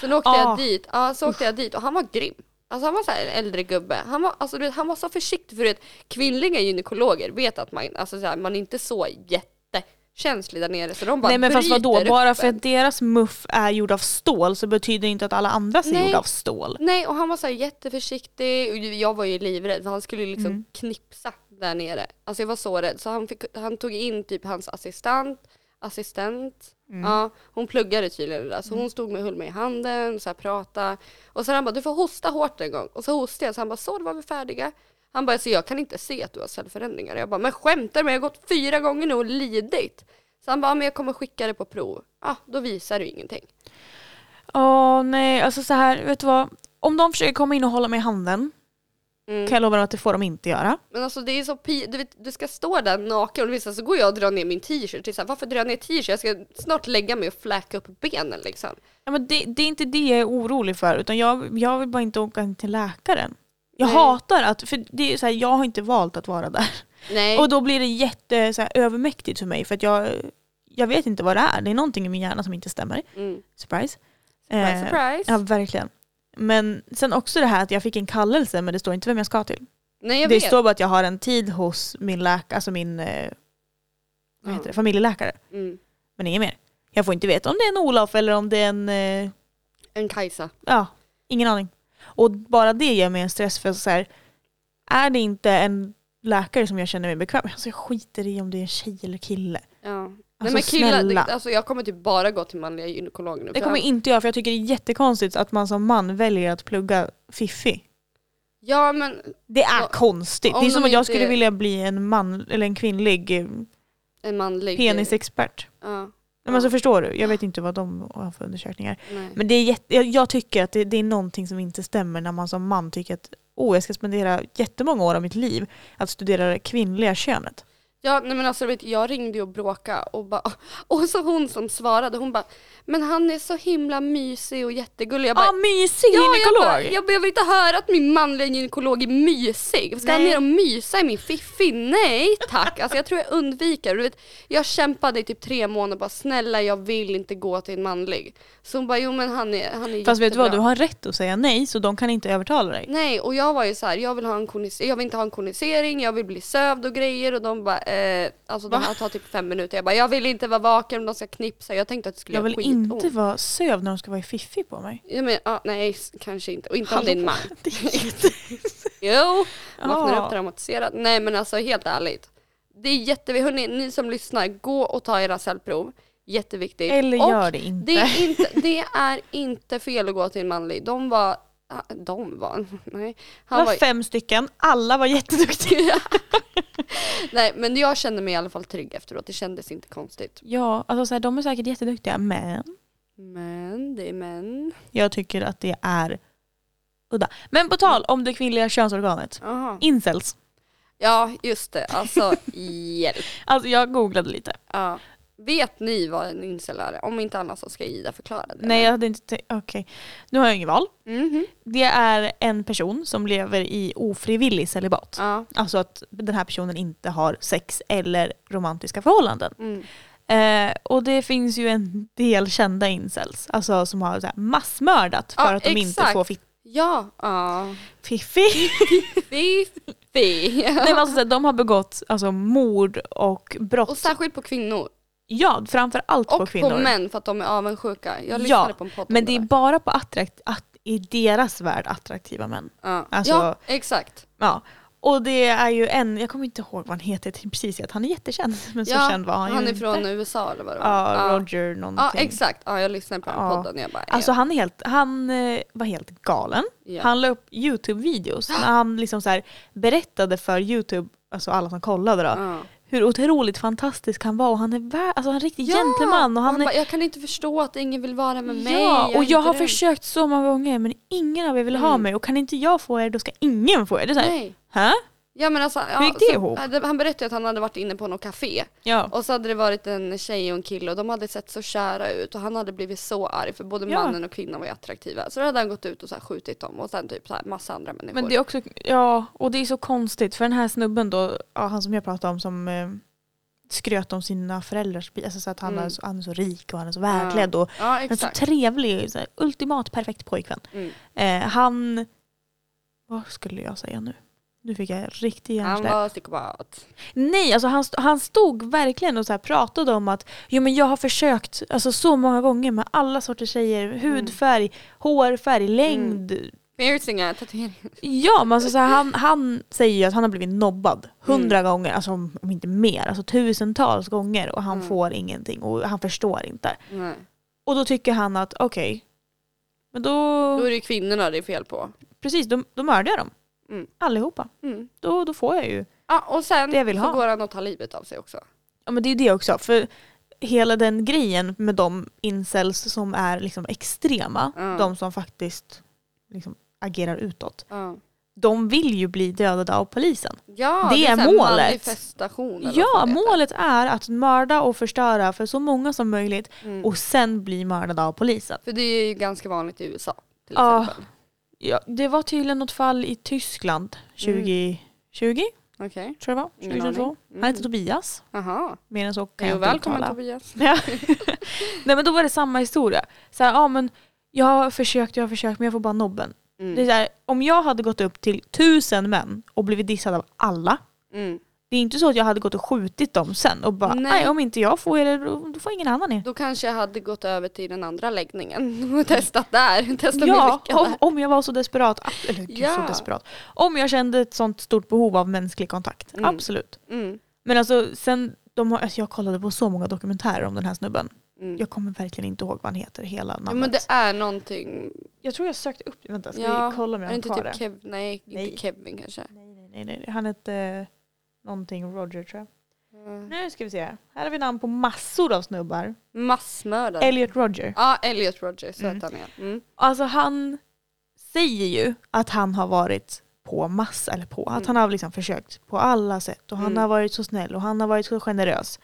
[SPEAKER 1] Sen åkte
[SPEAKER 2] Ah.
[SPEAKER 1] jag dit, ja så åkte jag dit och han var grym. Alltså han var så här en äldre gubbe. Han var, alltså, du vet, han var så försiktig för du vet, kvinnliga gynekologer vet att man, alltså, så här, man är inte så jättekänslig där nere så de bara
[SPEAKER 2] Nej men fast vadå,
[SPEAKER 1] bryter
[SPEAKER 2] bara
[SPEAKER 1] upp
[SPEAKER 2] för
[SPEAKER 1] en.
[SPEAKER 2] att deras muff är gjord av stål så betyder det inte att alla andras är
[SPEAKER 1] Nej.
[SPEAKER 2] gjorda av stål.
[SPEAKER 1] Nej, och han var så här jätteförsiktig och jag var ju livrädd för han skulle ju liksom knipsa där nere. Alltså jag var så rädd. Så han, fick, han tog in typ hans assistent, assistent. Ja, hon pluggade tydligen det där. Så hon stod med höll mig i handen, så här pratade. Och sen han bara, du får hosta hårt en gång. Och så hostade jag, så han bara, så då var vi färdiga. Han bara, så jag kan inte se att du har cellförändringar. Jag bara, men skämtar du med? Jag har gått fyra gånger nu och lidit. Så han bara, men jag kommer skicka det på prov. Ja, då visar du ingenting.
[SPEAKER 2] Åh nej, alltså så här, vet du vad? Om de försöker komma in och hålla mig i handen
[SPEAKER 1] Mm.
[SPEAKER 2] kan jag lova dem att det får de inte göra.
[SPEAKER 1] Men alltså det är så pi- du, vet, du ska stå där naken och vissa så går jag och drar ner min t-shirt. Det är så här, Varför drar jag ner t-shirt? Jag ska snart lägga mig och fläka upp benen liksom.
[SPEAKER 2] Ja, men det, det är inte det jag är orolig för utan jag, jag vill bara inte åka in till läkaren. Jag
[SPEAKER 1] Nej.
[SPEAKER 2] hatar att, för det är ju så här, jag har inte valt att vara där.
[SPEAKER 1] Nej.
[SPEAKER 2] Och då blir det jätte så här, övermäktigt för mig för att jag, jag vet inte vad det är. Det är någonting i min hjärna som inte stämmer.
[SPEAKER 1] mm.
[SPEAKER 2] Surprise.
[SPEAKER 1] Surprise,
[SPEAKER 2] Eh,
[SPEAKER 1] surprise.
[SPEAKER 2] Ja, verkligen. Men sen också det här att jag fick en kallelse men det står inte vem jag ska till.
[SPEAKER 1] Nej jag
[SPEAKER 2] det
[SPEAKER 1] vet.
[SPEAKER 2] står bara att jag har en tid hos min läkare, alltså min eh, vad heter det? familjeläkare.
[SPEAKER 1] Mm.
[SPEAKER 2] Men inget mer. Jag får inte veta om det är en Olof eller om det är en... Eh,
[SPEAKER 1] En Kajsa.
[SPEAKER 2] ja, ingen aning. Och bara det ger mig en stress för så här, är det inte en läkare som jag känner mig bekväm med, alltså jag skiter i om det är en tjej eller kille.
[SPEAKER 1] Ja.
[SPEAKER 2] Alltså,
[SPEAKER 1] Nej men killar,
[SPEAKER 2] snälla.
[SPEAKER 1] det, alltså jag kommer typ bara gå till manliga gynekologer nu.
[SPEAKER 2] Det
[SPEAKER 1] för
[SPEAKER 2] kommer
[SPEAKER 1] han-
[SPEAKER 2] inte jag för jag tycker det är jättekonstigt att man som man väljer att plugga fiffi.
[SPEAKER 1] Ja men
[SPEAKER 2] Det är
[SPEAKER 1] Ja,
[SPEAKER 2] konstigt.
[SPEAKER 1] om
[SPEAKER 2] Det är som
[SPEAKER 1] de
[SPEAKER 2] att jag
[SPEAKER 1] inte-
[SPEAKER 2] skulle vilja bli en man eller en kvinnlig eh,
[SPEAKER 1] en manlig...
[SPEAKER 2] penisexpert.
[SPEAKER 1] Ja,
[SPEAKER 2] Men alltså förstår du? Jag vet inte vad de har för undersökningar.
[SPEAKER 1] nej.
[SPEAKER 2] Men det är jätte, jag, jag tycker att det, det är någonting som inte stämmer när man som man tycker att åh, jag ska spendera jättemånga år av mitt liv att studera det kvinnliga könet.
[SPEAKER 1] Ja, nej men alltså vet, du, jag ringde ju och bråkade och bara, och så hon som svarade, hon bara, men han är så himla mysig och jättegullig. Jag bara,
[SPEAKER 2] ah, mysig
[SPEAKER 1] jag,
[SPEAKER 2] gynekolog!
[SPEAKER 1] bara, jag behöver inte höra att min manliga gynekolog är mysig. Ska han
[SPEAKER 2] Nej.
[SPEAKER 1] ner och mysa i min fiffi? Nej tack. Alltså jag tror jag undviker. Du vet, jag kämpade i typ tre månader bara snälla jag vill inte gå till en manlig. Så hon bara jo men han är, han är
[SPEAKER 2] Fast vet du vad, du
[SPEAKER 1] jättebra."
[SPEAKER 2] har rätt att säga nej så de kan inte övertala dig.
[SPEAKER 1] Nej och jag var ju så här, jag vill, ha en konis- jag vill inte ha en konisering, jag vill bli sövd och grejer och de bara eh, alltså det här tar typ fem minuter. Jag bara jag vill inte vara vaken om de ska knipsa. Jag tänkte att det skulle
[SPEAKER 2] Jag
[SPEAKER 1] göra
[SPEAKER 2] vill
[SPEAKER 1] skitont.
[SPEAKER 2] inte vara sövd när de ska vara i fiffi på mig.
[SPEAKER 1] Ja, men, ja, nej s- kanske inte. Och inte om det är en man.
[SPEAKER 2] Det är jätte...
[SPEAKER 1] Jo.
[SPEAKER 2] Ja.
[SPEAKER 1] Vaknar upp traumatiserad. Nej men alltså helt ärligt. Det är jätteviktigt. Hörrni, ni som lyssnar, gå och ta era cellprov. Jätteviktigt.
[SPEAKER 2] Eller
[SPEAKER 1] och
[SPEAKER 2] gör det inte.
[SPEAKER 1] det är inte, det är inte fel att gå till en manlig. De var, ah, de var, nej.
[SPEAKER 2] Det
[SPEAKER 1] Han
[SPEAKER 2] var
[SPEAKER 1] var,
[SPEAKER 2] fem stycken, alla var jätteduktiga.
[SPEAKER 1] nej men jag kände mig i alla fall trygg efteråt. Det kändes inte konstigt.
[SPEAKER 2] Ja, alltså så här, de är säkert jätteduktiga men
[SPEAKER 1] Men det är män.
[SPEAKER 2] jag tycker att det är udda. Men på tal om det kvinnliga könsorganet,
[SPEAKER 1] Aha.
[SPEAKER 2] incels.
[SPEAKER 1] Ja just det, alltså hjälp.
[SPEAKER 2] Alltså jag googlade lite.
[SPEAKER 1] Ja. Vet ni vad en incel är? Om inte annars så ska Ida förklara det.
[SPEAKER 2] Nej jag hade inte tänkt, okej. Nu har jag ingen val.
[SPEAKER 1] Mhm.
[SPEAKER 2] Det är en person som lever i ofrivillig celibat.
[SPEAKER 1] Ja.
[SPEAKER 2] Alltså att den här personen inte har sex eller romantiska förhållanden.
[SPEAKER 1] Mm.
[SPEAKER 2] Eh, och det finns ju en del kända incels, alltså som har så här massmördat för
[SPEAKER 1] Ja,
[SPEAKER 2] att de inte
[SPEAKER 1] exakt.
[SPEAKER 2] får fit-
[SPEAKER 1] Ja. ja.
[SPEAKER 2] fiffi.
[SPEAKER 1] Fiffi.
[SPEAKER 2] Nej, men alltså, så här, de har begått alltså, mord och brott.
[SPEAKER 1] Och särskilt på kvinnor.
[SPEAKER 2] ja, framför allt på
[SPEAKER 1] Och
[SPEAKER 2] kvinnor.
[SPEAKER 1] på män för att de är avundsjuka. Jag lyssnade på en podd om
[SPEAKER 2] men det är
[SPEAKER 1] där.
[SPEAKER 2] bara på attrakt- att, i deras värld attraktiva män.
[SPEAKER 1] ja.
[SPEAKER 2] alltså-
[SPEAKER 1] ja, exakt.
[SPEAKER 2] Ja. Och det är ju en, jag kommer inte ihåg vad han heter till precis, att han är jättekänd. Men så
[SPEAKER 1] ja,
[SPEAKER 2] känd var han,
[SPEAKER 1] han
[SPEAKER 2] ju
[SPEAKER 1] är från
[SPEAKER 2] inte.
[SPEAKER 1] USA eller vad det var.
[SPEAKER 2] Ja,
[SPEAKER 1] ja.
[SPEAKER 2] Roger
[SPEAKER 1] ja,
[SPEAKER 2] någonting.
[SPEAKER 1] exakt. Ja, jag lyssnade på den
[SPEAKER 2] Ja.
[SPEAKER 1] podden och jag bara...
[SPEAKER 2] Alltså han, är helt, han eh, var helt galen.
[SPEAKER 1] ja.
[SPEAKER 2] Han la upp YouTube-videos när han liksom så här berättade för YouTube, alltså alla som kollade då,
[SPEAKER 1] Ja.
[SPEAKER 2] hur otroligt fantastisk han var och han är värd, alltså han är en riktig gentleman och han,
[SPEAKER 1] bara,
[SPEAKER 2] är,
[SPEAKER 1] jag kan inte förstå att ingen vill vara med mig.
[SPEAKER 2] ja,
[SPEAKER 1] är
[SPEAKER 2] och jag
[SPEAKER 1] inte
[SPEAKER 2] har
[SPEAKER 1] du."
[SPEAKER 2] försökt så många gånger men ingen av er vill ha
[SPEAKER 1] Mm.
[SPEAKER 2] mig och kan inte jag få er då ska ingen få er. Det är så här,
[SPEAKER 1] Nej.
[SPEAKER 2] Hä?
[SPEAKER 1] Ja, men alltså, ja,
[SPEAKER 2] Hur gick det
[SPEAKER 1] så-
[SPEAKER 2] ihop?
[SPEAKER 1] hade- Han berättade att han hade varit inne på något café
[SPEAKER 2] Ja.
[SPEAKER 1] och så hade det varit en tjej och en kille och de hade sett så kära ut och han hade blivit så arg för både
[SPEAKER 2] Ja.
[SPEAKER 1] mannen och kvinnan var ju attraktiva. Så då hade han gått ut och så här skjutit dem och sen typ så här massa andra människor.
[SPEAKER 2] Men det är också, ja, och det är så konstigt för den här snubben då, ja, han som jag pratade om som eh, skröt om sina föräldrars bil, alltså så att han,
[SPEAKER 1] Mm.
[SPEAKER 2] är så, han är så rik och han är så välklädd och
[SPEAKER 1] ja,
[SPEAKER 2] en så
[SPEAKER 1] exakt.
[SPEAKER 2] trevlig, så här, ultimat perfekt pojkvän.
[SPEAKER 1] Mm.
[SPEAKER 2] Eh, han, vad skulle jag säga nu? Nu fick jag riktig
[SPEAKER 1] Han
[SPEAKER 2] hjärnsläpp.
[SPEAKER 1] var psykopat.
[SPEAKER 2] Nej, alltså han, st- han stod verkligen och så här pratade om att jo, men jag har försökt alltså, så många gånger med alla sorters tjejer.
[SPEAKER 1] Mm.
[SPEAKER 2] Hudfärg, hårfärg, längd.
[SPEAKER 1] Piercingar, tatueringar.
[SPEAKER 2] Ja, men alltså, så här, han, han säger ju att han har blivit nobbad hundra
[SPEAKER 1] Mm.
[SPEAKER 2] gånger, alltså, om om inte mer, alltså tusentals gånger och han
[SPEAKER 1] Mm.
[SPEAKER 2] får ingenting och han förstår inte.
[SPEAKER 1] Nej.
[SPEAKER 2] Och då tycker han att okej, men
[SPEAKER 1] Då är det ju kvinnorna det är fel på.
[SPEAKER 2] Precis, då, då mördar jag dem.
[SPEAKER 1] Mm.
[SPEAKER 2] Allihopa.
[SPEAKER 1] Mm.
[SPEAKER 2] Då, då får jag ju.
[SPEAKER 1] Ja, och sen
[SPEAKER 2] Det jag vill
[SPEAKER 1] så
[SPEAKER 2] ha.
[SPEAKER 1] går han och tar livet av sig också.
[SPEAKER 2] Ja men det är ju det också. För hela den grejen med de incels som är liksom extrema,
[SPEAKER 1] Ja.
[SPEAKER 2] de som faktiskt liksom agerar utåt.
[SPEAKER 1] Ja,
[SPEAKER 2] De vill ju bli dödade av polisen.
[SPEAKER 1] ja
[SPEAKER 2] Det är
[SPEAKER 1] så här
[SPEAKER 2] målet.
[SPEAKER 1] Manifestation eller
[SPEAKER 2] Ja,
[SPEAKER 1] vad det heter.
[SPEAKER 2] målet är att mörda och förstöra för så många som möjligt
[SPEAKER 1] Mm.
[SPEAKER 2] och sen bli mördade av polisen.
[SPEAKER 1] För det är ju ganska vanligt i USA till
[SPEAKER 2] Ja.
[SPEAKER 1] exempel.
[SPEAKER 2] Ja, det var tydligen något fall i Tyskland 2020
[SPEAKER 1] Okej.
[SPEAKER 2] tror jag det var.
[SPEAKER 1] Ingen
[SPEAKER 2] 2022.
[SPEAKER 1] aning.
[SPEAKER 2] Han heter Tobias.
[SPEAKER 1] Aha.
[SPEAKER 2] Mer än så kan
[SPEAKER 1] Jo,
[SPEAKER 2] jag inte
[SPEAKER 1] välkommen
[SPEAKER 2] uttala.
[SPEAKER 1] Tobias.
[SPEAKER 2] Ja. Nej men då var det samma historia. Så här, ja, men jag har försökt, jag har försökt men jag får bara nobben. Det är
[SPEAKER 1] Mm.
[SPEAKER 2] så här, om jag hade gått upp till tusen män och blivit dissad av alla.
[SPEAKER 1] Mm.
[SPEAKER 2] Det är inte så att jag hade gått och skjutit dem sen och bara
[SPEAKER 1] Nej.
[SPEAKER 2] nej, om inte jag får er då då får ingen annan er.
[SPEAKER 1] Då kanske jag hade gått över till den andra läggningen och testat där. Testat min
[SPEAKER 2] Ja,
[SPEAKER 1] lycka
[SPEAKER 2] om,
[SPEAKER 1] där.
[SPEAKER 2] om jag var så desperat. att- Eller gud, så
[SPEAKER 1] Ja.
[SPEAKER 2] desperat. Om jag kände ett sånt stort behov av mänsklig kontakt.
[SPEAKER 1] Mm.
[SPEAKER 2] Absolut.
[SPEAKER 1] Mm.
[SPEAKER 2] Men alltså sen, de har, alltså, jag kollade på så många dokumentärer om den här snubben.
[SPEAKER 1] Mm.
[SPEAKER 2] Jag kommer verkligen inte ihåg vad han heter, hela namnet.
[SPEAKER 1] Ja, men det är någonting.
[SPEAKER 2] Jag tror jag sökte upp Vänta, ska
[SPEAKER 1] Ja,
[SPEAKER 2] vi kolla om jag
[SPEAKER 1] Är det
[SPEAKER 2] har
[SPEAKER 1] inte typ
[SPEAKER 2] kvar det?
[SPEAKER 1] Kev- Nej, inte
[SPEAKER 2] Nej.
[SPEAKER 1] Kevin kanske.
[SPEAKER 2] Nej, nej, nej, nej. Han hette eh, någonting Roger tror jag. Nu ska vi se. Här har vi namn på massor av snubbar.
[SPEAKER 1] Massmördare.
[SPEAKER 2] Elliot Roger.
[SPEAKER 1] ja, Elliot Rodgers
[SPEAKER 2] Mm.
[SPEAKER 1] mm. han är. Mm.
[SPEAKER 2] Alltså han säger ju att han har varit på massa, eller på, att
[SPEAKER 1] Mm.
[SPEAKER 2] han har liksom försökt på alla sätt och han
[SPEAKER 1] Mm.
[SPEAKER 2] har varit så snäll och han har varit så generös.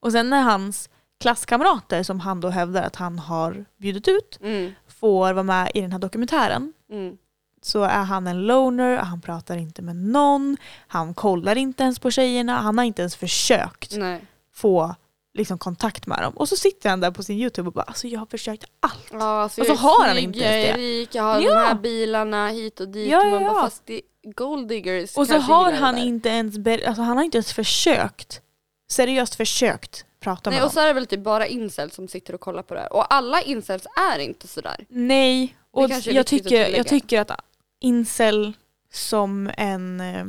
[SPEAKER 2] Och sen när hans klasskamrater som han då hävdar att han har bjudit ut
[SPEAKER 1] Mm.
[SPEAKER 2] får vara med i den här dokumentären
[SPEAKER 1] Mm.
[SPEAKER 2] så är han en loner, han pratar inte med någon, han kollar inte ens på tjejerna, han har inte ens försökt
[SPEAKER 1] Nej.
[SPEAKER 2] få liksom, kontakt med dem. Och så sitter han där på sin YouTube och bara alltså jag har försökt allt.
[SPEAKER 1] Ja, alltså,
[SPEAKER 2] Och
[SPEAKER 1] jag
[SPEAKER 2] så
[SPEAKER 1] är
[SPEAKER 2] har han
[SPEAKER 1] snygg,
[SPEAKER 2] inte
[SPEAKER 1] Jag
[SPEAKER 2] ens
[SPEAKER 1] är
[SPEAKER 2] det.
[SPEAKER 1] rik, jag har
[SPEAKER 2] Ja.
[SPEAKER 1] de här bilarna hit och dit.
[SPEAKER 2] Ja,
[SPEAKER 1] och man
[SPEAKER 2] ja, ja.
[SPEAKER 1] Bara, fast det är gold diggers
[SPEAKER 2] Och så
[SPEAKER 1] kanske
[SPEAKER 2] har
[SPEAKER 1] gillar det
[SPEAKER 2] han
[SPEAKER 1] där.
[SPEAKER 2] inte ens, ber- alltså, han har inte ens försökt, seriöst försökt prata
[SPEAKER 1] Nej,
[SPEAKER 2] med
[SPEAKER 1] och
[SPEAKER 2] dem.
[SPEAKER 1] så är det väl typ bara incels som sitter och kollar på det här. Och alla incels är inte sådär.
[SPEAKER 2] Nej, och
[SPEAKER 1] kanske är
[SPEAKER 2] jag
[SPEAKER 1] viktigt att
[SPEAKER 2] tycker, jag
[SPEAKER 1] tillägga.
[SPEAKER 2] tycker att incel som en eh,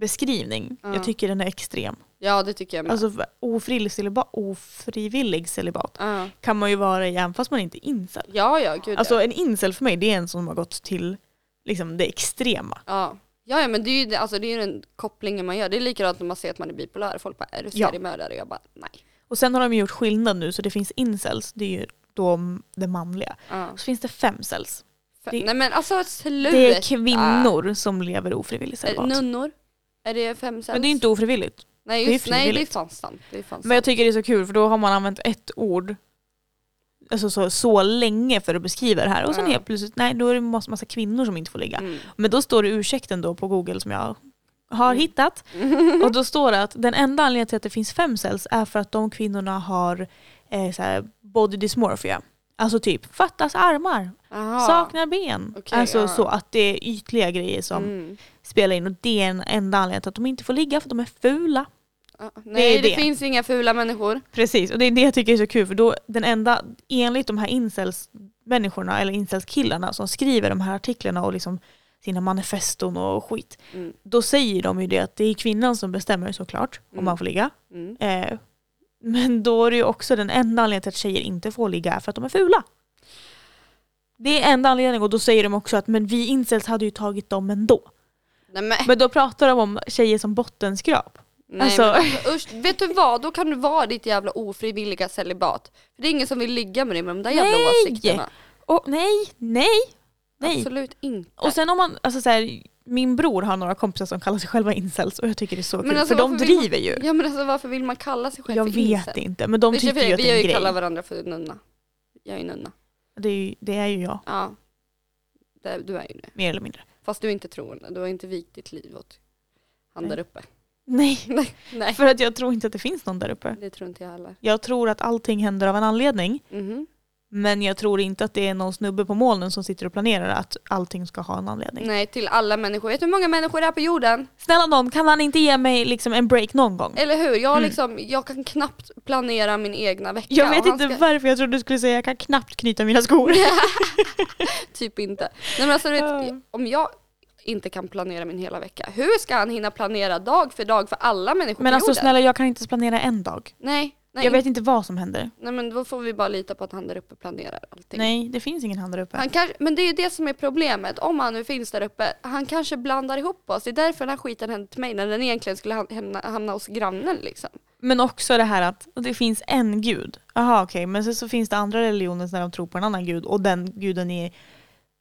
[SPEAKER 2] beskrivning,
[SPEAKER 1] Ja.
[SPEAKER 2] jag tycker den är extrem.
[SPEAKER 1] Ja, det tycker jag med.
[SPEAKER 2] Alltså ofrivillig celibat, ofrivillig celibat
[SPEAKER 1] Ja.
[SPEAKER 2] kan man ju vara i även fast man inte är incel.
[SPEAKER 1] ja, ja, gud ja.
[SPEAKER 2] Alltså en incel för mig det är en som har gått till liksom, det extrema.
[SPEAKER 1] Ja. Ja, ja men det är ju det- alltså, det är ju den kopplingen man gör. Det är likadant när man ser att man är bipolär. Folk bara är du
[SPEAKER 2] Ja.
[SPEAKER 1] seriemördare? Jag bara nej.
[SPEAKER 2] Och sen har de ju gjort skillnad nu så det finns incels, det är ju de, det manliga.
[SPEAKER 1] Ja.
[SPEAKER 2] Och så finns det femcels.
[SPEAKER 1] För,
[SPEAKER 2] Det-
[SPEAKER 1] nej men alltså sluta.
[SPEAKER 2] Det är kvinnor som lever ofrivilligt
[SPEAKER 1] Är det
[SPEAKER 2] celibat.
[SPEAKER 1] nunnor? Är det femcels?
[SPEAKER 2] Men det är inte ofrivilligt.
[SPEAKER 1] nej,
[SPEAKER 2] det är
[SPEAKER 1] just, nej det är
[SPEAKER 2] frivilligt.
[SPEAKER 1] fan sant. Det är fan
[SPEAKER 2] Men jag
[SPEAKER 1] sant.
[SPEAKER 2] tycker det är så kul för då har man använt ett ord alltså så, så länge för att beskriva det här och sen
[SPEAKER 1] Ja.
[SPEAKER 2] helt plötsligt, nej då är det massa, massa kvinnor som inte får ligga.
[SPEAKER 1] Mm.
[SPEAKER 2] Men då står det ursäkten då på google som jag har
[SPEAKER 1] Mm.
[SPEAKER 2] hittat och då står det att den enda anledningen till att det finns femcells är för att de kvinnorna har eh, så här, body dysmorphia. Alltså typ fattas armar,
[SPEAKER 1] Aha.
[SPEAKER 2] saknar ben.
[SPEAKER 1] Okej,
[SPEAKER 2] alltså
[SPEAKER 1] ja.
[SPEAKER 2] så att det är ytliga grejer som
[SPEAKER 1] Mm.
[SPEAKER 2] spelar in och det är den enda anledningen till att de inte får ligga för att de är fula.
[SPEAKER 1] Ja, nej det,
[SPEAKER 2] det.
[SPEAKER 1] finns inga fula människor.
[SPEAKER 2] Precis, och det är det jag tycker är så kul för då den enda, enligt de här incels-människorna eller incels-killarna som skriver de här artiklarna och liksom sina manifeston och skit,
[SPEAKER 1] Mm.
[SPEAKER 2] då säger de ju det att det är kvinnan som bestämmer såklart om
[SPEAKER 1] Mm.
[SPEAKER 2] man får ligga.
[SPEAKER 1] Mm.
[SPEAKER 2] Eh, men då är det ju också den enda anledningen till att tjejer inte får ligga är för att de är fula. Det är enda anledningen och då säger de också att men vi incels hade ju tagit dem ändå.
[SPEAKER 1] Nej, men,
[SPEAKER 2] Men då pratar de om tjejer som bottenskrap.
[SPEAKER 1] nej,
[SPEAKER 2] alltså-
[SPEAKER 1] men alltså, usch, vet du vad, då kan du vara ditt jävla ofrivilliga celibat. För det är ingen som vill ligga med dig med de där jävla
[SPEAKER 2] Nej!
[SPEAKER 1] åsikterna.
[SPEAKER 2] Och nej, nej, nej.
[SPEAKER 1] Absolut inte.
[SPEAKER 2] Och sen om man, alltså så här, min bror har några kompisar som kallar sig själva incels och jag tycker det är så
[SPEAKER 1] Men
[SPEAKER 2] kul
[SPEAKER 1] alltså,
[SPEAKER 2] för de
[SPEAKER 1] varför vill man-
[SPEAKER 2] driver ju.
[SPEAKER 1] Ja men alltså varför vill man kalla sig själv
[SPEAKER 2] Jag
[SPEAKER 1] för
[SPEAKER 2] vet
[SPEAKER 1] incel?
[SPEAKER 2] inte men de
[SPEAKER 1] Vi
[SPEAKER 2] tycker ju att
[SPEAKER 1] vi
[SPEAKER 2] det
[SPEAKER 1] har
[SPEAKER 2] är
[SPEAKER 1] ju
[SPEAKER 2] en grej.
[SPEAKER 1] kallat varandra för nunna. Jag är nunna.
[SPEAKER 2] Det är, ju, det är ju jag,
[SPEAKER 1] Ja. Det, du är ju det.
[SPEAKER 2] mer eller mindre.
[SPEAKER 1] Fast du är inte troende. Du har inte vikt ditt liv åt han
[SPEAKER 2] Nej.
[SPEAKER 1] där uppe.
[SPEAKER 2] Nej,
[SPEAKER 1] Nej,
[SPEAKER 2] för att jag tror inte att det finns någon där uppe.
[SPEAKER 1] det tror inte jag heller.
[SPEAKER 2] Jag tror att allting händer av en anledning
[SPEAKER 1] Mhm.
[SPEAKER 2] men jag tror inte att det är någon snubbe på molnen som sitter och planerar att allting ska ha en anledning.
[SPEAKER 1] Nej, till alla människor. Vet du hur många människor det är på jorden?
[SPEAKER 2] Snälla någon, kan han inte ge mig liksom en break någon gång?
[SPEAKER 1] Eller hur? Jag,
[SPEAKER 2] Mm.
[SPEAKER 1] liksom, jag kan knappt planera min egna vecka.
[SPEAKER 2] Jag vet
[SPEAKER 1] och han
[SPEAKER 2] inte
[SPEAKER 1] ska-
[SPEAKER 2] varför jag trodde du skulle säga jag kan knappt knyta mina skor.
[SPEAKER 1] Typ inte. Nej, men alltså, du vet,
[SPEAKER 2] Ja.
[SPEAKER 1] om jag inte kan planera min hela vecka, hur ska han hinna planera dag för dag för alla människor
[SPEAKER 2] Men
[SPEAKER 1] på
[SPEAKER 2] alltså
[SPEAKER 1] jorden?
[SPEAKER 2] snälla jag kan inte ens planera en dag.
[SPEAKER 1] Nej, nej,
[SPEAKER 2] Jag vet inte vad som händer.
[SPEAKER 1] nej, men då får vi bara lita på att han där uppe planerar allting.
[SPEAKER 2] Nej, det finns ingen hand där uppe.
[SPEAKER 1] Han kanske, men det är ju det som är problemet, om han nu finns där uppe, han kanske blandar ihop oss. Det är därför den här skiten hände till mig när den egentligen skulle ham- hamna, hamna hos grannen liksom.
[SPEAKER 2] Men också det här att det finns en gud. Jaha okej, men sen så finns det andra religioner där de tror på en annan gud och den guden är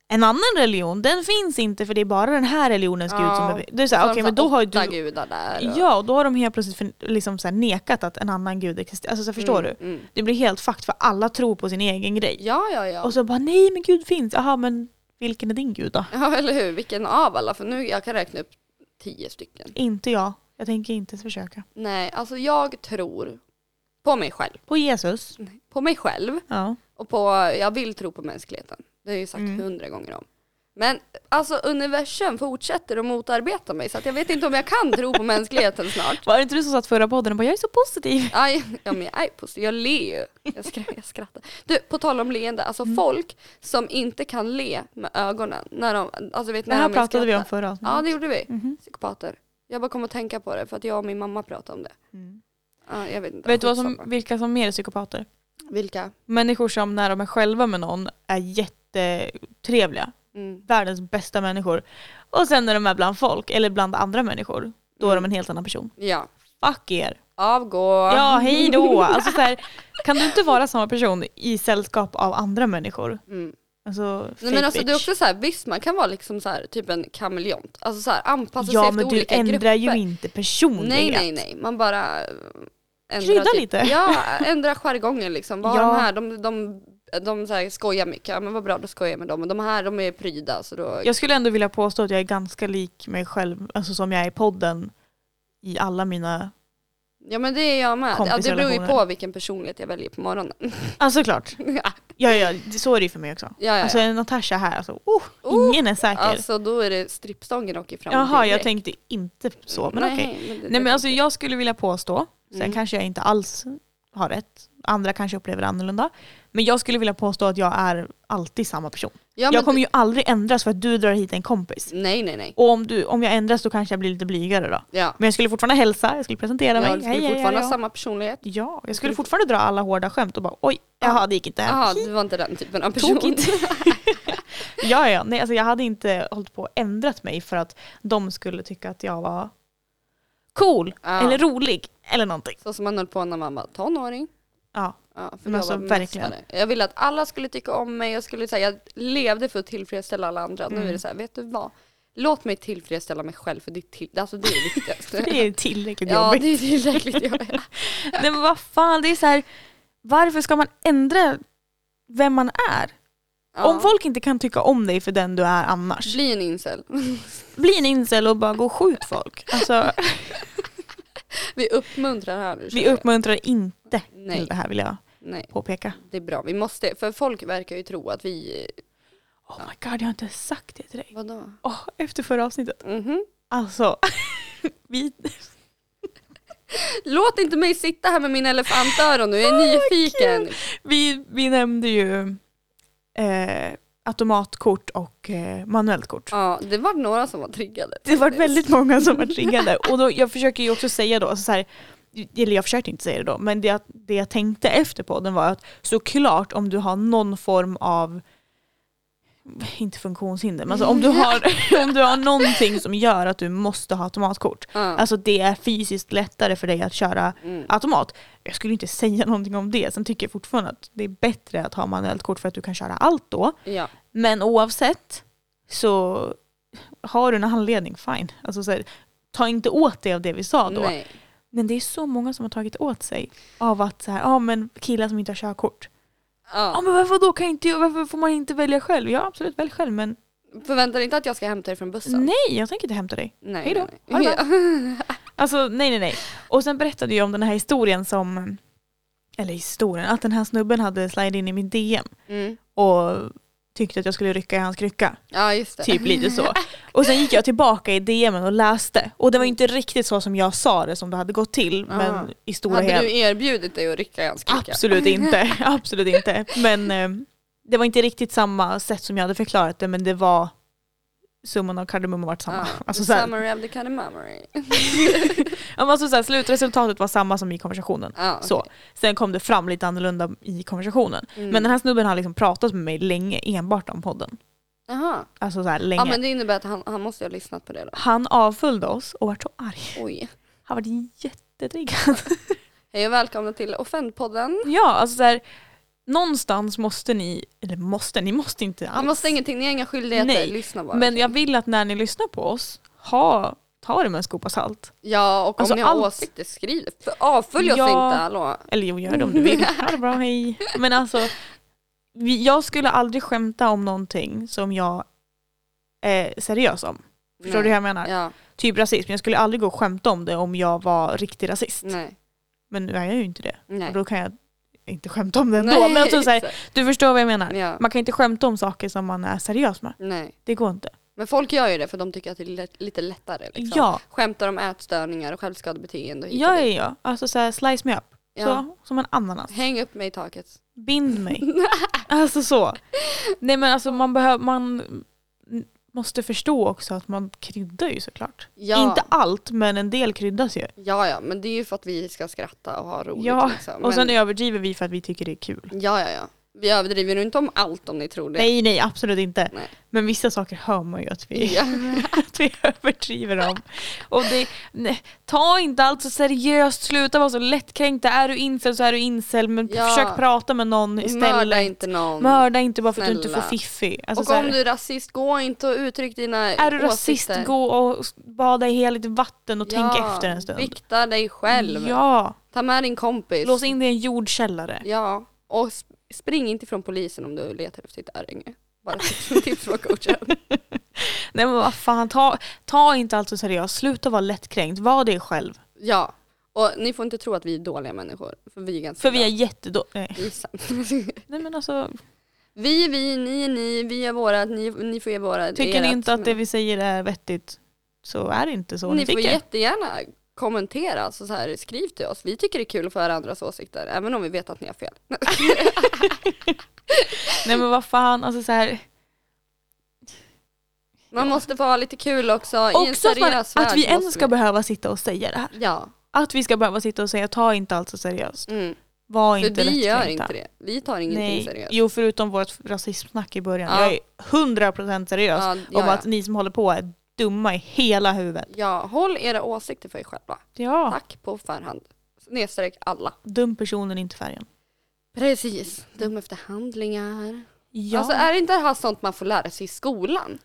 [SPEAKER 2] en annan religion. Den finns inte för det är bara den här religionens gud som är... Det är
[SPEAKER 1] Så
[SPEAKER 2] så här,
[SPEAKER 1] de
[SPEAKER 2] okej men då
[SPEAKER 1] så
[SPEAKER 2] har ju
[SPEAKER 1] Alltså, åtta
[SPEAKER 2] du...
[SPEAKER 1] gudar där.
[SPEAKER 2] Ja, och då har de helt plötsligt för, liksom så här nekat att en annan gud existerar. Alltså så här, förstår
[SPEAKER 1] Mm,
[SPEAKER 2] du?
[SPEAKER 1] mm.
[SPEAKER 2] Det blir helt fakt för alla tror på sin egen grej.
[SPEAKER 1] Ja, ja, ja.
[SPEAKER 2] Och så bara nej men gud finns, jaha men vilken är din gud då?
[SPEAKER 1] Ja, eller hur. Vilken av alla? För nu jag kan räkna upp tio stycken.
[SPEAKER 2] Inte jag, jag tänker inte ens försöka.
[SPEAKER 1] Nej, alltså jag tror på mig själv.
[SPEAKER 2] På Jesus.
[SPEAKER 1] På mig själv
[SPEAKER 2] Ja.
[SPEAKER 1] och på, jag vill tro på mänskligheten. Det har jag ju sagt
[SPEAKER 2] Mm.
[SPEAKER 1] hundra gånger om. Men alltså universum fortsätter att motarbeta mig så att jag vet inte om jag kan tro på mänskligheten snart.
[SPEAKER 2] Var det inte du som satt förra podden och bara jag är så positiv?
[SPEAKER 1] Aj, ja, men jag är positiv, jag ler ju. jag, skra- jag skrattar. Du, på tal om leende, alltså
[SPEAKER 2] Mm.
[SPEAKER 1] folk som inte kan le med ögonen. När de, alltså vet,
[SPEAKER 2] Det
[SPEAKER 1] när
[SPEAKER 2] här
[SPEAKER 1] de
[SPEAKER 2] pratade vi om
[SPEAKER 1] skrattar.
[SPEAKER 2] förra avsnittet.
[SPEAKER 1] Ja, det gjorde vi.
[SPEAKER 2] Mhm.
[SPEAKER 1] Psykopater. Jag bara kom att tänka på det för att jag och min mamma pratade om det.
[SPEAKER 2] Mm.
[SPEAKER 1] Ja, jag vet inte.
[SPEAKER 2] Vet du vad som,
[SPEAKER 1] Skitsamma.
[SPEAKER 2] vilka som mer är psykopater?
[SPEAKER 1] Vilka?
[SPEAKER 2] Människor som när de är själva med någon är jätte jättetrevliga.
[SPEAKER 1] Mm.
[SPEAKER 2] Världens bästa människor. Och sen när de är bland folk, eller bland andra människor, då är de
[SPEAKER 1] Mm.
[SPEAKER 2] en helt annan person.
[SPEAKER 1] Ja.
[SPEAKER 2] Fuck er!
[SPEAKER 1] Avgå.
[SPEAKER 2] Ja, hej då! Alltså, så här, kan du inte vara samma person i sällskap av andra människor?
[SPEAKER 1] Mm.
[SPEAKER 2] Alltså,
[SPEAKER 1] Nej,
[SPEAKER 2] fake
[SPEAKER 1] men alltså,
[SPEAKER 2] bitch.
[SPEAKER 1] det är också så här, visst man kan vara liksom så här, typ en kameleont. Alltså så här, anpassa sig
[SPEAKER 2] ja,
[SPEAKER 1] efter
[SPEAKER 2] men du
[SPEAKER 1] olika
[SPEAKER 2] ändrar
[SPEAKER 1] grupper.
[SPEAKER 2] ju inte personlighet.
[SPEAKER 1] Nej, nej, nej. Man bara... eh, ändrar typ-
[SPEAKER 2] Krydda lite.
[SPEAKER 1] Ja, ändra jargongen liksom. Vad har
[SPEAKER 2] Ja.
[SPEAKER 1] de här, de, de, de så här skojar mycket. Ja, men vad bra, då skojar jag med dem. Och de här, de är pryda. Så då...
[SPEAKER 2] Jag skulle ändå vilja påstå att jag är ganska lik mig själv, alltså som jag är i podden i alla mina...
[SPEAKER 1] Ja, men det är jag med. Ja, det beror ju
[SPEAKER 2] Kompisrelationer.
[SPEAKER 1] på vilken personlighet jag väljer på morgonen.
[SPEAKER 2] Alltså klart.
[SPEAKER 1] ja,
[SPEAKER 2] Ja, ja, det- så är det ju för mig också.
[SPEAKER 1] ja, ja.
[SPEAKER 2] Alltså
[SPEAKER 1] Alltså,
[SPEAKER 2] en Natasha här, alltså, oh,
[SPEAKER 1] Oh,
[SPEAKER 2] ingen är säker.
[SPEAKER 1] då är det strippstången och i framtiden.
[SPEAKER 2] Jaha, jag tänkte inte så, men okej.
[SPEAKER 1] men det-
[SPEAKER 2] Nej men
[SPEAKER 1] det-
[SPEAKER 2] alltså jag skulle vilja påstå, sen
[SPEAKER 1] Mm.
[SPEAKER 2] kanske jag inte alls har rätt, andra kanske upplever det annorlunda, men jag skulle vilja påstå att jag är alltid samma person.
[SPEAKER 1] ja, men
[SPEAKER 2] jag kommer ju aldrig ändras för att du drar hit en kompis.
[SPEAKER 1] Nej, nej, nej.
[SPEAKER 2] Och om, du, om jag ändras då kanske jag blir lite blygare då.
[SPEAKER 1] Ja.
[SPEAKER 2] Men jag skulle fortfarande hälsa, jag skulle presentera
[SPEAKER 1] Ja,
[SPEAKER 2] mig.
[SPEAKER 1] du skulle
[SPEAKER 2] Hej, hej,
[SPEAKER 1] fortfarande
[SPEAKER 2] hej,
[SPEAKER 1] ha samma personlighet.
[SPEAKER 2] ja. ja, jag skulle fortfarande dra alla hårda skämt och bara oj, jaha det gick inte.
[SPEAKER 1] Jaha, du var inte den typen av person.
[SPEAKER 2] Tokigt. ja, ja, nej alltså jag hade inte hållit på och ändrat mig för att de skulle tycka att jag var cool
[SPEAKER 1] Ja.
[SPEAKER 2] eller rolig eller någonting.
[SPEAKER 1] Så som man höll på när man var tonåring.
[SPEAKER 2] Ja.
[SPEAKER 1] Ja, för
[SPEAKER 2] Men
[SPEAKER 1] jag
[SPEAKER 2] alltså,
[SPEAKER 1] var
[SPEAKER 2] verkligen.
[SPEAKER 1] mästare. Jag ville att alla skulle tycka om mig. Jag, skulle, säga, jag levde för att tillfredsställa alla andra. Nu
[SPEAKER 2] Mm.
[SPEAKER 1] är det så här, vet du vad? Låt mig tillfredsställa mig själv för det är, till, alltså det är det viktigaste.
[SPEAKER 2] Det är tillräckligt
[SPEAKER 1] ja,
[SPEAKER 2] jobbigt.
[SPEAKER 1] det är tillräckligt jobbigt.
[SPEAKER 2] Nej men vad fan, det är så här, varför ska man ändra vem man är?
[SPEAKER 1] Ja.
[SPEAKER 2] Om folk inte kan tycka om dig för den du är annars,
[SPEAKER 1] Bli en incel.
[SPEAKER 2] bli en incel och bara gå och skjut folk. Alltså,
[SPEAKER 1] Vi uppmuntrar här nu. känner
[SPEAKER 2] vi
[SPEAKER 1] jag.
[SPEAKER 2] uppmuntrar inte
[SPEAKER 1] Nej.
[SPEAKER 2] till det här vill jag
[SPEAKER 1] Nej,
[SPEAKER 2] påpeka.
[SPEAKER 1] det är bra. Vi måste, för folk verkar ju tro att vi,
[SPEAKER 2] Oh my god, jag har inte sagt det till dig.
[SPEAKER 1] vadå?
[SPEAKER 2] Åh, efter förra avsnittet.
[SPEAKER 1] Mhm.
[SPEAKER 2] Alltså, vi...
[SPEAKER 1] Låt inte mig sitta här med min elefantöron nu, jag är nyfiken.
[SPEAKER 2] Vi, vi nämnde ju eh, automatkort och eh, manuellt kort.
[SPEAKER 1] Ja, det var några som var triggade.
[SPEAKER 2] Det var väldigt många som var triggade. Och då, jag försöker ju också säga då, alltså så här, eller jag försökte inte säga det då, men det, jag- det jag tänkte efter på den var att såklart om du har någon form av inte funktionshinder, men alltså om, du har, om du har någonting som gör att du måste ha automatkort.
[SPEAKER 1] Ja.
[SPEAKER 2] Alltså det är fysiskt lättare för dig att köra
[SPEAKER 1] Mm.
[SPEAKER 2] automat. Jag skulle inte säga någonting om det. Sen tycker jag fortfarande att det är bättre att ha manuellt kort för att du kan köra allt då.
[SPEAKER 1] Ja.
[SPEAKER 2] Men oavsett så har du en anledning, fine. Alltså så här, ta inte åt dig av det vi sa då.
[SPEAKER 1] Nej.
[SPEAKER 2] Men det är så många som har tagit åt sig av att så här, ja men killar som inte har körkort. Ja
[SPEAKER 1] Ja.
[SPEAKER 2] men varför då kan jag inte, jag- varför får man inte välja själv? Ja absolut välj själv men
[SPEAKER 1] Förvänta dig inte att jag ska hämta dig från bussen.
[SPEAKER 2] nej jag tänker inte hämta dig.
[SPEAKER 1] Nej,
[SPEAKER 2] Hej då.
[SPEAKER 1] nej,
[SPEAKER 2] Ha det
[SPEAKER 1] nej.
[SPEAKER 2] bra. Alltså nej nej nej. Och sen berättade jag om den här historien som, eller historien, att den här snubben hade slidit in i min DM
[SPEAKER 1] Mm.
[SPEAKER 2] och tyckte att jag skulle rycka i hans krycka.
[SPEAKER 1] Ja, just det.
[SPEAKER 2] Typ lite så. Och sen gick jag tillbaka i DMen och läste. Och det var ju inte riktigt så som jag sa det som det hade gått till.
[SPEAKER 1] Ah.
[SPEAKER 2] Men i stora
[SPEAKER 1] Hade
[SPEAKER 2] hela...
[SPEAKER 1] du erbjudit dig att rycka i hans krycka?
[SPEAKER 2] Absolut inte. Absolut inte. Men eh, det var inte riktigt samma sätt som jag hade förklarat det men det var summan av kardemumman vart samma.
[SPEAKER 1] Ja.
[SPEAKER 2] Alltså,
[SPEAKER 1] The
[SPEAKER 2] så här,
[SPEAKER 1] Summary of the kind of memory.
[SPEAKER 2] ja, men alltså, så här, slutresultatet var samma som i konversationen.
[SPEAKER 1] Ja,
[SPEAKER 2] Så. Sen kom det fram lite annorlunda i konversationen.
[SPEAKER 1] Mm.
[SPEAKER 2] Men den här snubben har liksom pratat med mig länge enbart om podden.
[SPEAKER 1] Jaha.
[SPEAKER 2] Alltså så här, länge.
[SPEAKER 1] Ja, men det innebär att han, han måste ju ha lyssnat på det då.
[SPEAKER 2] Han avföljde oss och vart så arg.
[SPEAKER 1] Oj.
[SPEAKER 2] Han vart jättetriggad.
[SPEAKER 1] Hej och välkomna till Offendpodden.
[SPEAKER 2] Ja, alltså så här, någonstans måste ni, eller måste, ni måste inte
[SPEAKER 1] Han
[SPEAKER 2] alls.
[SPEAKER 1] måste ingenting, ni har inga skyldigheter.
[SPEAKER 2] Nej,
[SPEAKER 1] Lyssna bara.
[SPEAKER 2] Men jag vill att när ni lyssnar på oss, ha, ta det med en skopa salt.
[SPEAKER 1] Ja, och om
[SPEAKER 2] Alltså,
[SPEAKER 1] ni har
[SPEAKER 2] allt-
[SPEAKER 1] åsikter, skriv det. För- Avfölj
[SPEAKER 2] Ja.
[SPEAKER 1] oss inte, hallå.
[SPEAKER 2] Eller jo, gör det om du vill. Ha det bra, hej. Men alltså, vi, jag skulle aldrig skämta om någonting som jag är seriös om. Förstår
[SPEAKER 1] Nej.
[SPEAKER 2] du hur jag menar?
[SPEAKER 1] Ja,
[SPEAKER 2] Typ rasism, jag skulle aldrig gå och skämta om det om jag var riktig rasist.
[SPEAKER 1] nej.
[SPEAKER 2] Men nu är jag ju inte det.
[SPEAKER 1] nej.
[SPEAKER 2] Och då kan jag inte skämta om det ändå. Men alltså, så här,
[SPEAKER 1] exakt.
[SPEAKER 2] du förstår vad jag menar.
[SPEAKER 1] Ja.
[SPEAKER 2] Man kan inte skämta om saker som man är seriös med.
[SPEAKER 1] nej.
[SPEAKER 2] Det går inte.
[SPEAKER 1] Men folk gör ju det för de tycker att det är lätt- lite lättare. Liksom.
[SPEAKER 2] Ja.
[SPEAKER 1] Skämtar om ätstörningar och självskadebeteende. Och hit och
[SPEAKER 2] Ja, ja,
[SPEAKER 1] dit.
[SPEAKER 2] ja. Alltså så här, slice me up. Så, som en ananas.
[SPEAKER 1] Häng upp mig i taket.
[SPEAKER 2] Bind mig. alltså så. Nej men alltså man behöver, man måste förstå också att man kryddar ju såklart.
[SPEAKER 1] Ja.
[SPEAKER 2] Inte allt, men en del kryddas ju.
[SPEAKER 1] ja, ja, men det är ju för att vi ska skratta och ha roligt.
[SPEAKER 2] Ja,
[SPEAKER 1] liksom.
[SPEAKER 2] Och sen
[SPEAKER 1] men,
[SPEAKER 2] överdriver vi för att vi tycker det är kul.
[SPEAKER 1] ja, ja, ja. Vi överdriver ju inte om allt om ni tror det.
[SPEAKER 2] Nej, nej, absolut inte.
[SPEAKER 1] Nej.
[SPEAKER 2] Men vissa saker hör man ju att vi,
[SPEAKER 1] Ja.
[SPEAKER 2] att vi överdriver om. Och det, nej, ta inte allt så seriöst, sluta vara så lättkränkt. Är du incel så är du incel, men
[SPEAKER 1] Ja.
[SPEAKER 2] försök prata med någon
[SPEAKER 1] Mörda
[SPEAKER 2] istället.
[SPEAKER 1] inte någon.
[SPEAKER 2] Mörda inte bara för att du inte får
[SPEAKER 1] Snälla.
[SPEAKER 2] fiffi. Alltså,
[SPEAKER 1] och
[SPEAKER 2] så här,
[SPEAKER 1] om du är rasist, gå inte och uttryck dina
[SPEAKER 2] är du rasist,
[SPEAKER 1] åsikter.
[SPEAKER 2] gå och s- bada i heligt vatten och tänk efter en stund.
[SPEAKER 1] Vikta dig själv.
[SPEAKER 2] Ja,
[SPEAKER 1] Ta med din kompis.
[SPEAKER 2] lås in dig i en jordkällare.
[SPEAKER 1] Ja, och sp- spring inte från polisen om du letar efter ditt örhänge. Bara som tips från coachen.
[SPEAKER 2] Nej men vad fan, ta, ta inte allt så seriöst. Sluta vara lättkränkt, var dig själv.
[SPEAKER 1] Ja, och ni får inte tro att vi är dåliga människor. För vi är ganska
[SPEAKER 2] För vi är
[SPEAKER 1] bra.
[SPEAKER 2] jättedåliga. Nej.
[SPEAKER 1] Vi är sämst.
[SPEAKER 2] Nej men alltså,
[SPEAKER 1] Vi är vi, ni är ni, vi är våra, ni, ni får göra våra.
[SPEAKER 2] tycker ni
[SPEAKER 1] ert,
[SPEAKER 2] inte att det
[SPEAKER 1] men
[SPEAKER 2] vi säger är vettigt så är det inte så ni,
[SPEAKER 1] Ni får
[SPEAKER 2] tycker.
[SPEAKER 1] jättegärna kommentera, alltså så här, skriv till oss. Vi tycker det är kul att få höra andras åsikter, även om vi vet att ni har fel.
[SPEAKER 2] Nej men vad fan, alltså så här.
[SPEAKER 1] Man måste få ha lite kul också, i en
[SPEAKER 2] Också att, man,
[SPEAKER 1] seriös värld.
[SPEAKER 2] att vi ens
[SPEAKER 1] måste
[SPEAKER 2] ska behöva sitta och säga det här.
[SPEAKER 1] Ja,
[SPEAKER 2] Att vi ska behöva sitta och säga ta inte allt så seriöst.
[SPEAKER 1] mm.
[SPEAKER 2] Var
[SPEAKER 1] för
[SPEAKER 2] inte
[SPEAKER 1] vi gör
[SPEAKER 2] lättkränkta.
[SPEAKER 1] inte det. Vi tar ingenting
[SPEAKER 2] Nej.
[SPEAKER 1] seriöst.
[SPEAKER 2] Jo förutom vårt rasismsnack i början.
[SPEAKER 1] Ja.
[SPEAKER 2] Jag är 100% seriös
[SPEAKER 1] Ja, ja,
[SPEAKER 2] om
[SPEAKER 1] ja.
[SPEAKER 2] att ni som håller på är dumma i hela huvudet.
[SPEAKER 1] Ja, håll era åsikter för er själva.
[SPEAKER 2] Ja.
[SPEAKER 1] Tack på förhand. Nedstreck alla.
[SPEAKER 2] Dum personen, inte färgen.
[SPEAKER 1] Precis. Dum efter handlingar.
[SPEAKER 2] Ja.
[SPEAKER 1] Alltså är inte det här sånt man får lära sig i skolan?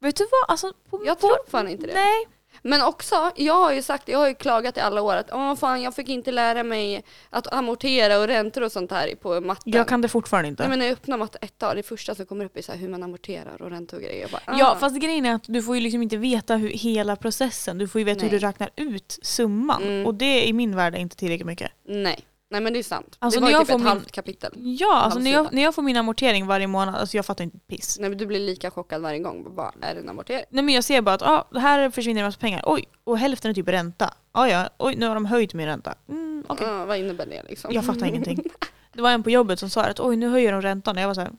[SPEAKER 2] vet du vad? Alltså, på,
[SPEAKER 1] Jag
[SPEAKER 2] på,
[SPEAKER 1] tror fan inte det.
[SPEAKER 2] Nej.
[SPEAKER 1] Men också, jag har ju sagt, jag har ju klagat i alla år att åh fan jag fick inte lära mig att amortera och räntor och sånt här på matten.
[SPEAKER 2] Jag kan det fortfarande
[SPEAKER 1] Nej,
[SPEAKER 2] inte.
[SPEAKER 1] men när jag öppnar matte 1 det första som kommer upp är så här hur man amorterar och räntor och grejer. Jag bara,
[SPEAKER 2] Ja
[SPEAKER 1] ah.
[SPEAKER 2] fast grejen är att du får ju liksom inte veta hur hela processen, du får ju veta hur
[SPEAKER 1] Nej.
[SPEAKER 2] du räknar ut summan
[SPEAKER 1] Mm.
[SPEAKER 2] och det i min värld är inte tillräckligt mycket.
[SPEAKER 1] Nej. Nej men det är sant.
[SPEAKER 2] Alltså,
[SPEAKER 1] det var
[SPEAKER 2] när
[SPEAKER 1] ju
[SPEAKER 2] jag
[SPEAKER 1] typ ett
[SPEAKER 2] får min-
[SPEAKER 1] halvt kapitel.
[SPEAKER 2] Ja, alltså när jag,
[SPEAKER 1] Halvsida.
[SPEAKER 2] när jag får min amortering varje månad, alltså jag fattar inte ett piss.
[SPEAKER 1] Nej, men du blir lika chockad varje gång. Vad är en amortering?
[SPEAKER 2] Nej men jag ser bara att ah, det här försvinner en massa pengar, oj, och hälften är typ ränta. Ah, ja, oj nu har de höjt min ränta. Mm, okej.
[SPEAKER 1] Ah, vad innebär det liksom?
[SPEAKER 2] Jag fattar ingenting. Det var en på jobbet som sa att oj nu höjer de räntan och jag var såhär,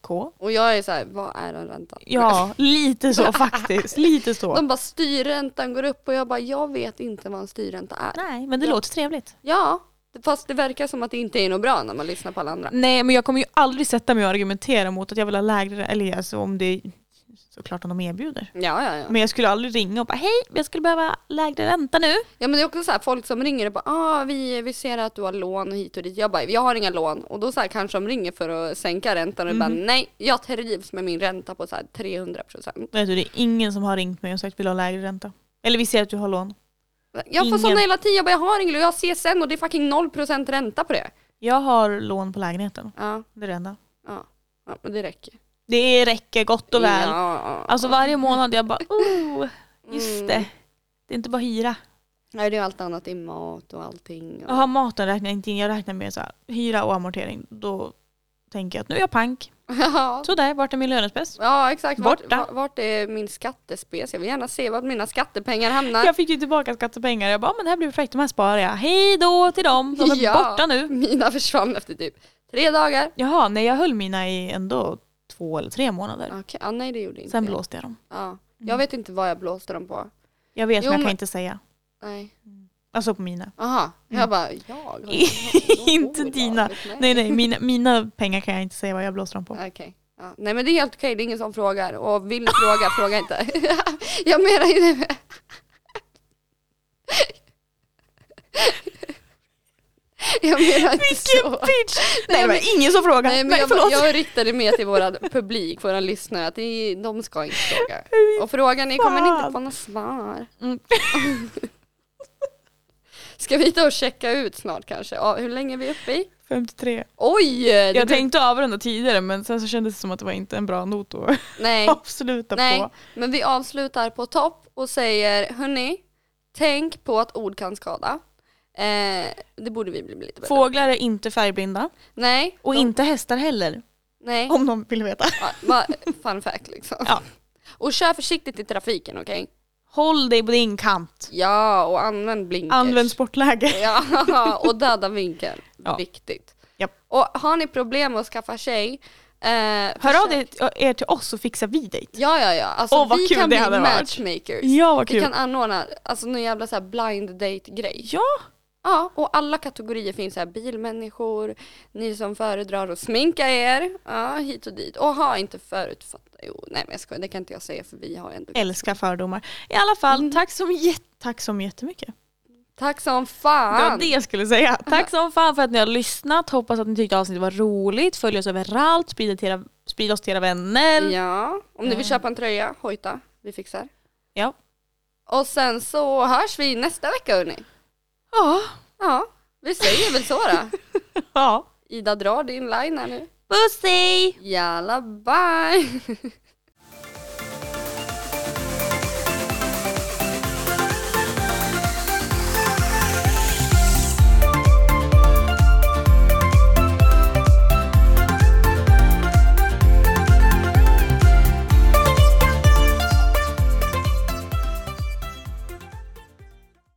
[SPEAKER 2] K?
[SPEAKER 1] Och jag är så här, vad är en ränta? Alltså,
[SPEAKER 2] Ja, lite så faktiskt. Lite så.
[SPEAKER 1] De bara styrräntan går upp och jag bara, jag vet inte vad en styrränta är.
[SPEAKER 2] Nej, men det
[SPEAKER 1] Ja.
[SPEAKER 2] låter trevligt.
[SPEAKER 1] Ja, fast det verkar som att det inte är något bra när man lyssnar på alla andra.
[SPEAKER 2] Nej, men jag kommer ju aldrig sätta mig och argumentera mot att jag vill ha lägre, eller alltså om det såklart om de erbjuder.
[SPEAKER 1] Ja, ja, ja.
[SPEAKER 2] Men jag skulle aldrig ringa och bara hej, jag skulle behöva lägre ränta nu.
[SPEAKER 1] Ja, men det är också så här, folk som ringer och bara, ah, vi, vi ser att du har lån hit och dit. Jag bara, jag har inga lån. Och då så här, kanske de ringer för att sänka räntan och
[SPEAKER 2] Mhm.
[SPEAKER 1] bara, nej, jag trivs med min ränta på så här 300 procent.
[SPEAKER 2] Vet du, det är ingen som har ringt mig och sagt vill ha lägre ränta. Eller vi ser att du har lån.
[SPEAKER 1] Jag får
[SPEAKER 2] Ingen.
[SPEAKER 1] sådana hela tiden, jag bara, jag har ingen, jag har CSN och det är fucking 0 procent ränta på det.
[SPEAKER 2] Jag har lån på lägenheten,
[SPEAKER 1] Ja,
[SPEAKER 2] det är det enda.
[SPEAKER 1] ja, ja men det räcker.
[SPEAKER 2] Det räcker gott och väl.
[SPEAKER 1] Ja, ja,
[SPEAKER 2] Alltså varje månad jag bara oh, just
[SPEAKER 1] Mm.
[SPEAKER 2] det. Det är inte bara hyra.
[SPEAKER 1] Nej det är allt annat, det är mat och allting.
[SPEAKER 2] Jaha, maten räknar jag inte in. Jag räknar med så här, hyra och amortering. Då tänker jag att nu är jag pank.
[SPEAKER 1] Ja.
[SPEAKER 2] Så där, vart är min lönespess?
[SPEAKER 1] Ja exakt, vart,
[SPEAKER 2] Borta.
[SPEAKER 1] va- vart är min skattespes? Jag vill gärna se vart mina skattepengar hamnar.
[SPEAKER 2] Jag fick ju tillbaka skattepengar. Jag bara, "Ah, men det här blir perfekt, de här sparar jag. Hej då till dem, de är
[SPEAKER 1] Ja.
[SPEAKER 2] borta nu.
[SPEAKER 1] Mina försvann efter typ tre dagar.
[SPEAKER 2] Jaha, nej jag höll mina i ändå två eller tre månader.
[SPEAKER 1] Okej, ah, nej det gjorde inte
[SPEAKER 2] Sen
[SPEAKER 1] jag.
[SPEAKER 2] blåste Mm. jag dem.
[SPEAKER 1] Ja. Jag vet inte vad jag blåste dem på.
[SPEAKER 2] Jag vet,
[SPEAKER 1] Jo,
[SPEAKER 2] men jag kan
[SPEAKER 1] men-
[SPEAKER 2] inte säga.
[SPEAKER 1] Nej.
[SPEAKER 2] Alltså på mina.
[SPEAKER 1] Aha. jag bara jag? har
[SPEAKER 2] Mm. Inte
[SPEAKER 1] något
[SPEAKER 2] dina.
[SPEAKER 1] olagligt,
[SPEAKER 2] Nej, nej, mina, mina pengar kan jag inte säga vad jag blåste dem på.
[SPEAKER 1] Okej. Ja. Nej men det är helt okej, det är ingen som frågar och vill fråga, fråga inte. jag menar ju det. jag menar inte så.
[SPEAKER 2] Bitch! Nej, det var ingen som frågade.
[SPEAKER 1] Nej,
[SPEAKER 2] Nej,
[SPEAKER 1] men jag,
[SPEAKER 2] förlåt.
[SPEAKER 1] jag riktade mig till vår publik, våra lyssnare, att det- de ska inte fråga. Och frågan är, kommer ni inte få något svar?
[SPEAKER 2] Mm.
[SPEAKER 1] Ska vi ta och checka ut snart kanske? Ja, hur länge är vi uppe i?
[SPEAKER 2] 53.
[SPEAKER 1] Oj! det
[SPEAKER 2] Jag
[SPEAKER 1] blev-
[SPEAKER 2] tänkte avrunda tidigare men sen så kändes det som att det var inte en bra not att
[SPEAKER 1] nej,
[SPEAKER 2] avsluta
[SPEAKER 1] nej,
[SPEAKER 2] på.
[SPEAKER 1] men vi avslutar på topp och säger, hörni, tänk på att ord kan skada. Eh, det borde vi bli lite bättre på.
[SPEAKER 2] Fåglar är inte färgblinda
[SPEAKER 1] Nej,
[SPEAKER 2] och
[SPEAKER 1] de-
[SPEAKER 2] inte hästar heller
[SPEAKER 1] nej.
[SPEAKER 2] om de vill veta.
[SPEAKER 1] Ja, va, fun fact liksom.
[SPEAKER 2] Ja.
[SPEAKER 1] Och kör försiktigt i trafiken, okej?
[SPEAKER 2] Håll dig på din kant.
[SPEAKER 1] Ja, och använd blinkers.
[SPEAKER 2] Använd sportläge.
[SPEAKER 1] Ja, och döda vinkeln.
[SPEAKER 2] Ja.
[SPEAKER 1] Viktigt.
[SPEAKER 2] Japp.
[SPEAKER 1] Och har ni problem med att skaffa tjej, eh,
[SPEAKER 2] Hör av
[SPEAKER 1] försök-
[SPEAKER 2] dig er till oss så fixar vi dig.
[SPEAKER 1] Ja, ja, ja. Alltså,
[SPEAKER 2] Åh, vad
[SPEAKER 1] vi
[SPEAKER 2] kul
[SPEAKER 1] kan
[SPEAKER 2] det
[SPEAKER 1] bli
[SPEAKER 2] hade varit.
[SPEAKER 1] matchmakers.
[SPEAKER 2] Ja vad
[SPEAKER 1] Vi
[SPEAKER 2] kul.
[SPEAKER 1] kan anordna alltså, någon jävla så här blind date-grej.
[SPEAKER 2] Ja,
[SPEAKER 1] Ja, och alla kategorier finns här. Bilmänniskor, ni som föredrar att sminka er. Ja, hit och dit. Och ha inte förutfattat. Jo, nej men jag skojar, det kan inte jag säga för vi har ändå...
[SPEAKER 2] Älskar fördomar. I alla fall, tack, som jätt, tack som jättemycket.
[SPEAKER 1] Tack som
[SPEAKER 2] Det var
[SPEAKER 1] fan!
[SPEAKER 2] det jag skulle säga. Tack som fan för att ni har lyssnat. Hoppas att ni tyckte avsnittet var roligt. Följ oss överallt. Sprid, det till era, sprid oss till era vänner. Ja.
[SPEAKER 1] Ja, om ni vill köpa en tröja, hojta. Vi fixar.
[SPEAKER 2] Eh. Ja.
[SPEAKER 1] Och sen så hörs vi nästa vecka hörni. Ja, vi säger väl så då.
[SPEAKER 2] ja.
[SPEAKER 1] Ida drar din line här nu.
[SPEAKER 2] Puss hej!
[SPEAKER 1] Jalla bye!